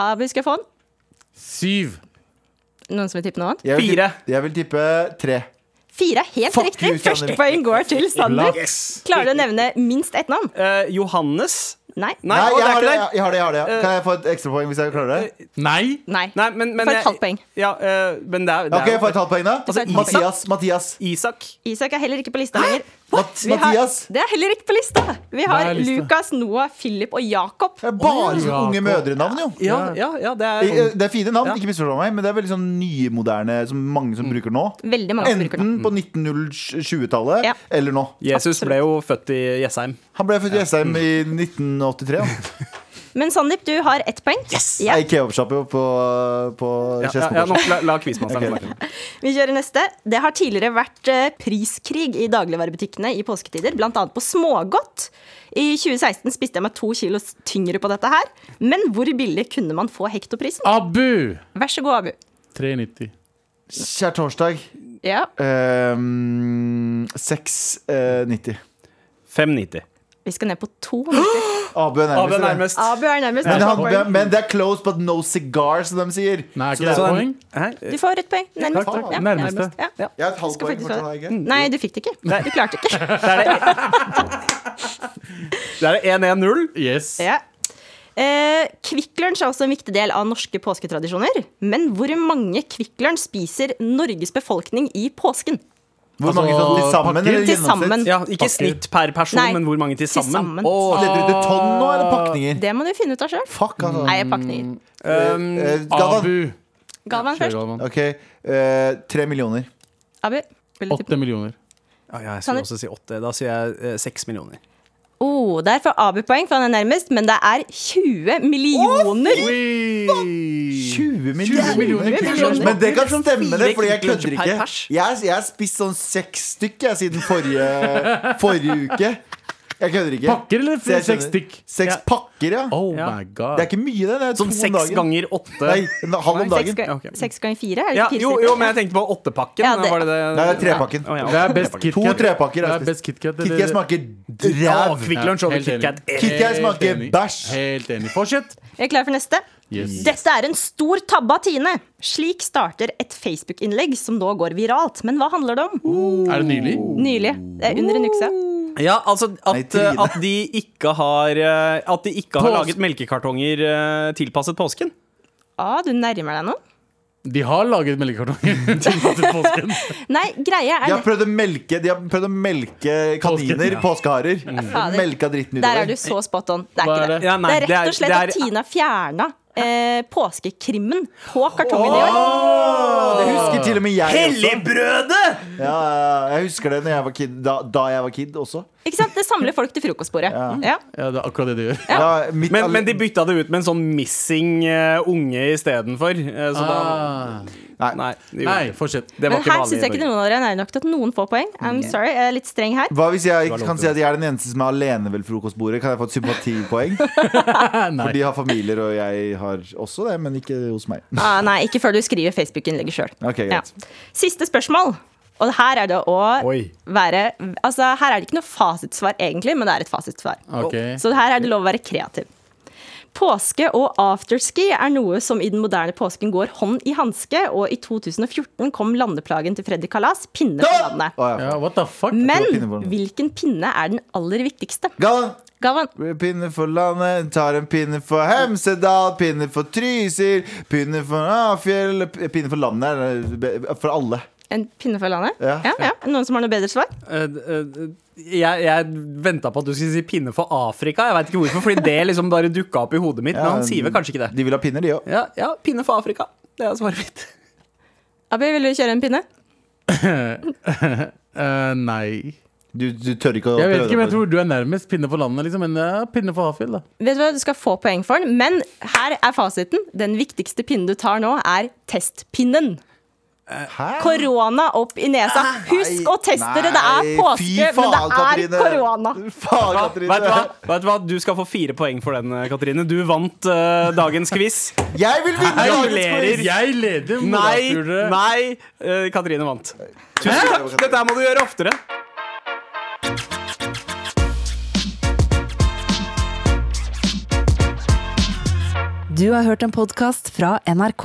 [SPEAKER 8] Abu skal få den.
[SPEAKER 2] Syv.
[SPEAKER 8] Noen som vil tippe noe annet?
[SPEAKER 3] Jeg vil
[SPEAKER 5] Fire.
[SPEAKER 3] tippe- Jeg vil tippe tre.
[SPEAKER 8] Fire. Helt
[SPEAKER 3] Fuck
[SPEAKER 8] riktig.
[SPEAKER 3] you, Sander.
[SPEAKER 8] Første poeng går til Sander.
[SPEAKER 5] Yes.
[SPEAKER 8] Klarer du å nevne minst ett navn?
[SPEAKER 5] Eh, Johannes
[SPEAKER 8] Nei.
[SPEAKER 3] Nei,
[SPEAKER 5] Nei, å, det
[SPEAKER 3] jeg
[SPEAKER 5] er
[SPEAKER 3] har
[SPEAKER 5] ikke Eh,
[SPEAKER 3] det,
[SPEAKER 5] der.
[SPEAKER 3] jeg har det, jeg har det. Kan jeg få et ekstrapoeng hvis jeg klarer det?
[SPEAKER 2] Nei!
[SPEAKER 8] Nei.
[SPEAKER 5] Nei, men, men
[SPEAKER 8] Få et
[SPEAKER 5] jeg-
[SPEAKER 8] halvt poeng.
[SPEAKER 5] Ja, eh, men det er, det
[SPEAKER 3] Ok,
[SPEAKER 5] er
[SPEAKER 3] jeg får et halvt poeng, da.
[SPEAKER 5] Altså, Isak-
[SPEAKER 3] Mathias. Mathias.
[SPEAKER 5] Isak.
[SPEAKER 8] Isak er heller ikke på lista lenger.
[SPEAKER 3] Mat
[SPEAKER 8] Vi har,
[SPEAKER 3] Mathias.
[SPEAKER 8] det er heller ikke på lista! Vi har
[SPEAKER 2] er lista?
[SPEAKER 8] Lukas, Noah, Philip og Jakob.
[SPEAKER 3] Det er
[SPEAKER 2] Jakob.
[SPEAKER 3] bare sånne unge mødrenavn, jo.
[SPEAKER 5] Ja, ja, ja det
[SPEAKER 3] I- eh,
[SPEAKER 5] er
[SPEAKER 3] Det er fine navn,
[SPEAKER 5] Ja.
[SPEAKER 3] ikke misforstå meg, men det er veldig sånn nymoderne som mange
[SPEAKER 8] Mm.
[SPEAKER 3] som bruker nå.
[SPEAKER 8] Veldig mange som bruker den.
[SPEAKER 3] Enten på 1920-tallet
[SPEAKER 8] Ja.
[SPEAKER 3] eller nå.
[SPEAKER 5] Jesus ble jo født i Jessheim.
[SPEAKER 3] Han ble født i Jessheim i 1983. Han.
[SPEAKER 8] Men Sandeep, du har ett poeng. Ja.
[SPEAKER 3] Jeg Ikea-shopper jo på, på
[SPEAKER 5] Ja, ja, ja,
[SPEAKER 3] Skedsmo.
[SPEAKER 5] nå, la la quizmasteren
[SPEAKER 3] Ok.
[SPEAKER 5] snakke.
[SPEAKER 8] Vi kjører neste. Det har tidligere vært eh, priskrig i dagligvarebutikkene i påsketider, bl.a. på smågodt. I 2016 spiste jeg meg to kilo tyngre på dette her. Men hvor billig kunne man få hektoprisen?
[SPEAKER 2] Abu!
[SPEAKER 8] Vær så god, Abu.
[SPEAKER 2] 390.
[SPEAKER 3] Kjær torsdag.
[SPEAKER 8] Ja,
[SPEAKER 3] Ehm, eh, 690.
[SPEAKER 5] 590.
[SPEAKER 8] Vi skal ned på to.
[SPEAKER 3] Abu er
[SPEAKER 5] Abu er
[SPEAKER 3] nærmest.
[SPEAKER 5] nærmest.
[SPEAKER 8] [gasps] Abu er nærmest.
[SPEAKER 3] eller? Men,
[SPEAKER 8] Vær så god.
[SPEAKER 3] han, men det er close but no cigar, som de sier.
[SPEAKER 2] Nei, er ikke
[SPEAKER 3] Så
[SPEAKER 2] det
[SPEAKER 3] det
[SPEAKER 2] et
[SPEAKER 3] er-
[SPEAKER 2] poeng?
[SPEAKER 5] Hæ?
[SPEAKER 8] Du får et poeng. Nærmest.
[SPEAKER 2] Takk, takk.
[SPEAKER 8] Ja,
[SPEAKER 2] Nærmeste.
[SPEAKER 8] nærmest. Ja.
[SPEAKER 3] Jeg har et halvt
[SPEAKER 8] Skal
[SPEAKER 3] poeng
[SPEAKER 8] faktisk Mm.
[SPEAKER 3] fortsatt,
[SPEAKER 8] ha-
[SPEAKER 3] har jeg ikke?
[SPEAKER 8] Nei, du fikk det ikke. Du klarte [laughs] ikke.
[SPEAKER 5] Det er 1-1-0.
[SPEAKER 2] Yes.
[SPEAKER 8] Ja. Eh, Kvikk Lunsj er også en viktig del av norske påsketradisjoner. Men hvor mange Kvikk Lunsj spiser Norges befolkning i påsken?
[SPEAKER 3] Hvor mange
[SPEAKER 2] Altså,
[SPEAKER 3] sånn til sammen?
[SPEAKER 2] pakker?
[SPEAKER 3] Eller
[SPEAKER 8] Til
[SPEAKER 3] gjennomsnitt?
[SPEAKER 8] sammen.
[SPEAKER 5] Ja, ikke snitt per person,
[SPEAKER 8] Nei,
[SPEAKER 5] men hvor mange til
[SPEAKER 8] til
[SPEAKER 5] sammen.
[SPEAKER 8] sammen.
[SPEAKER 5] Åh,
[SPEAKER 3] Leder du til tonn nå, eller pakninger?
[SPEAKER 8] Det må du finne ut av sjøl.
[SPEAKER 3] Fuck, altså.
[SPEAKER 8] Nei, pakninger.
[SPEAKER 5] Mm. ehm,
[SPEAKER 3] Eh, Galvan.
[SPEAKER 2] Abu.
[SPEAKER 8] Galvan
[SPEAKER 2] Kjør,
[SPEAKER 8] først.
[SPEAKER 2] Galvan.
[SPEAKER 3] Ok, eh, tre millioner.
[SPEAKER 8] Abu. vil du tippe?
[SPEAKER 2] Åtte millioner.
[SPEAKER 5] ja, ja, jeg skulle også si åtte. Da sier jeg eh, seks millioner.
[SPEAKER 8] Oh, der får Abu poeng, for han er nærmest, men det er 20 millioner.
[SPEAKER 2] 20
[SPEAKER 3] 20
[SPEAKER 2] millioner kroner.
[SPEAKER 3] Men det kan stemme, det, fordi jeg
[SPEAKER 5] Fire
[SPEAKER 3] kødder
[SPEAKER 5] per
[SPEAKER 3] ikke.
[SPEAKER 5] pers.
[SPEAKER 3] Jeg jeg har spist sånn seks stykk jeg, siden forrige, forrige uke. Jeg kødder ikke.
[SPEAKER 2] Pakker eller
[SPEAKER 3] Så jeg
[SPEAKER 2] seks
[SPEAKER 3] skjønner.
[SPEAKER 2] stykk?
[SPEAKER 3] Seks
[SPEAKER 5] Ja.
[SPEAKER 3] pakker, ja.
[SPEAKER 2] Oh
[SPEAKER 5] Ja.
[SPEAKER 2] my god.
[SPEAKER 3] Det er ikke mye, det. det er
[SPEAKER 5] Sånn
[SPEAKER 3] to om
[SPEAKER 5] seks
[SPEAKER 3] dagen.
[SPEAKER 5] ganger åtte.
[SPEAKER 3] Nei, en halv om
[SPEAKER 8] Seks
[SPEAKER 3] dagen.
[SPEAKER 8] ga-
[SPEAKER 5] ok.
[SPEAKER 8] Seks ganger fire? Er det
[SPEAKER 5] Ja,
[SPEAKER 8] ikke fire
[SPEAKER 5] jo,
[SPEAKER 8] stykker?
[SPEAKER 5] jo, men jeg tenkte på åttepakken.
[SPEAKER 8] Ja, det-
[SPEAKER 5] Var det det?
[SPEAKER 3] Nei, det er trepakken.
[SPEAKER 5] Å, ja.
[SPEAKER 2] Det er altså. best
[SPEAKER 5] Trepakken.
[SPEAKER 2] KitKat.
[SPEAKER 3] To trepakker
[SPEAKER 2] Det
[SPEAKER 3] har
[SPEAKER 2] er
[SPEAKER 3] jeg spist.
[SPEAKER 2] best KitKat. eller-
[SPEAKER 3] Kikki smaker
[SPEAKER 5] Ja,
[SPEAKER 3] ræv.
[SPEAKER 5] Kvikk Lunsj over
[SPEAKER 2] Helt enig.
[SPEAKER 5] KitKat. Eh,
[SPEAKER 3] Kikki smaker
[SPEAKER 2] Helt enig.
[SPEAKER 3] bæsj.
[SPEAKER 2] Helt enig. Fortsett.
[SPEAKER 8] Jeg er klar for neste.
[SPEAKER 2] Yes.
[SPEAKER 8] Dette er en stor tabbe av Tine. Slik starter et Facebook-innlegg som nå går viralt. Men hva handler det om?
[SPEAKER 5] Oh.
[SPEAKER 2] Er det nylig?
[SPEAKER 8] Nylig. Det er under en uke siden.
[SPEAKER 5] Ja, altså
[SPEAKER 3] Nei,
[SPEAKER 5] at,
[SPEAKER 3] Trine.
[SPEAKER 5] eh, at de ikke har eh, At de ikke har
[SPEAKER 2] Pås-
[SPEAKER 5] laget melkekartonger eh, tilpasset påsken.
[SPEAKER 8] Ah, du nærmer deg noe.
[SPEAKER 2] De har laget [laughs] melkekartonger til påsken.
[SPEAKER 8] Nei, greia
[SPEAKER 3] De
[SPEAKER 8] er
[SPEAKER 3] har prøvd å melke, de har prøvd å melke kaniner, påskeharer. Mm.
[SPEAKER 8] Fader.
[SPEAKER 3] Melka dritten
[SPEAKER 8] Der er
[SPEAKER 3] utover.
[SPEAKER 8] du så spot on. Det er
[SPEAKER 2] Hva er
[SPEAKER 8] ikke det.
[SPEAKER 2] det?
[SPEAKER 5] Ja, nei,
[SPEAKER 8] det er rett og slett
[SPEAKER 5] det er-
[SPEAKER 8] at Tina fjerna eh, påskekrimmen på kartongen i år.
[SPEAKER 3] Å, Det husker til og med jeg også.
[SPEAKER 5] Helligbrødet!
[SPEAKER 3] Ja, jeg husker det når jeg var kid, da, da jeg var kid også.
[SPEAKER 8] Ikke sant? Det samler folk til frokostbordet. Ja.
[SPEAKER 2] Ja, det er akkurat det
[SPEAKER 3] [laughs]
[SPEAKER 2] de gjør.
[SPEAKER 3] Da, mitt
[SPEAKER 5] Men,
[SPEAKER 3] alle-
[SPEAKER 5] men de bytta det ut med en sånn missing eh, unge istedenfor. Uh, så
[SPEAKER 2] Ah.
[SPEAKER 5] da Nei. det gjorde
[SPEAKER 2] Nei,
[SPEAKER 5] det.
[SPEAKER 2] fortsett.
[SPEAKER 5] Det
[SPEAKER 8] Men
[SPEAKER 5] var ikke
[SPEAKER 8] her
[SPEAKER 5] vanlig
[SPEAKER 8] syns jeg ikke
[SPEAKER 5] i Norge.
[SPEAKER 8] noen av dere er nære nok til at noen får poeng. I'm sorry, jeg er litt streng her.
[SPEAKER 3] hva hvis jeg
[SPEAKER 5] lov
[SPEAKER 3] kan si
[SPEAKER 5] til
[SPEAKER 3] at jeg er den eneste som er alene ved frokostbordet? Kan jeg få et sympatipoeng?
[SPEAKER 5] [laughs]
[SPEAKER 3] For de har familier, og jeg har også det, men ikke hos meg.
[SPEAKER 8] Ah, nei, ikke før du skriver Facebook-innlegget sjøl.
[SPEAKER 3] Ok, greit.
[SPEAKER 8] Siste spørsmål. Og her er det å
[SPEAKER 5] Oi.
[SPEAKER 8] være Altså, her er det ikke noe fasitsvar egentlig, men det er et fasitsvar.
[SPEAKER 2] Ok.
[SPEAKER 8] Så her er det lov å være kreativ. Påske og afterski er noe som i den moderne påsken går hånd i hanske, og i 2014 kom landeplagen til Freddy Kalas, pinne på landet.
[SPEAKER 3] [laughs] Å, ja.
[SPEAKER 2] Ja, what the fuck?
[SPEAKER 8] Men hvilken pinne er den aller viktigste?
[SPEAKER 3] Galvan.
[SPEAKER 8] Gavan.
[SPEAKER 3] Pinne for landet, tar en pinne for Hemsedal, pinne for Trysil, pinne for Afjell Pinne for landet er det for alle.
[SPEAKER 8] En pinne for landet?
[SPEAKER 3] Ja.
[SPEAKER 8] ja, ja. Noen som har noe bedre svar?
[SPEAKER 5] Eh, eh, Jeg, jeg venta på at du skulle si pinne for Afrika. Jeg vet ikke hvorfor, fordi det liksom bare dukka opp i hodet mitt.
[SPEAKER 3] Ja,
[SPEAKER 5] Men han sier vel kanskje ikke det.
[SPEAKER 3] De vil ha pinner, de òg.
[SPEAKER 5] Ja, ja pinne for Afrika. Det er svaret mitt.
[SPEAKER 8] Abu, vil du kjøre en pinne?
[SPEAKER 2] Eh, nei.
[SPEAKER 3] Du, du tør ikke å
[SPEAKER 2] Jeg vet ikke, men jeg
[SPEAKER 3] prøve
[SPEAKER 2] tror du er nærmest pinne for landet, liksom. Men ja, pinne for Hafjell, da.
[SPEAKER 8] Vet Du hva, du skal få poeng for den, men her er fasiten. Den viktigste pinnen du tar nå, er testpinnen. Korona opp i nesa. Husk å teste det! Det er
[SPEAKER 3] Ah, Nei, fy
[SPEAKER 8] påske, men det
[SPEAKER 3] faen,
[SPEAKER 8] er
[SPEAKER 3] Katrine.
[SPEAKER 8] korona.
[SPEAKER 3] Faen,
[SPEAKER 5] Vet du, hva?
[SPEAKER 3] Katrine.
[SPEAKER 5] vet du hva? Du skal få fire poeng for den, eh, Katrine. Du vant eh, dagens quiz.
[SPEAKER 3] Jeg vil vinne!
[SPEAKER 5] Gratulerer.
[SPEAKER 2] Jeg leder!
[SPEAKER 5] Nei,
[SPEAKER 2] morapulere.
[SPEAKER 5] nei, eh, Katrine vant. Tusen takk! Dette her må du gjøre oftere.
[SPEAKER 10] Du har hørt en podkast fra NRK.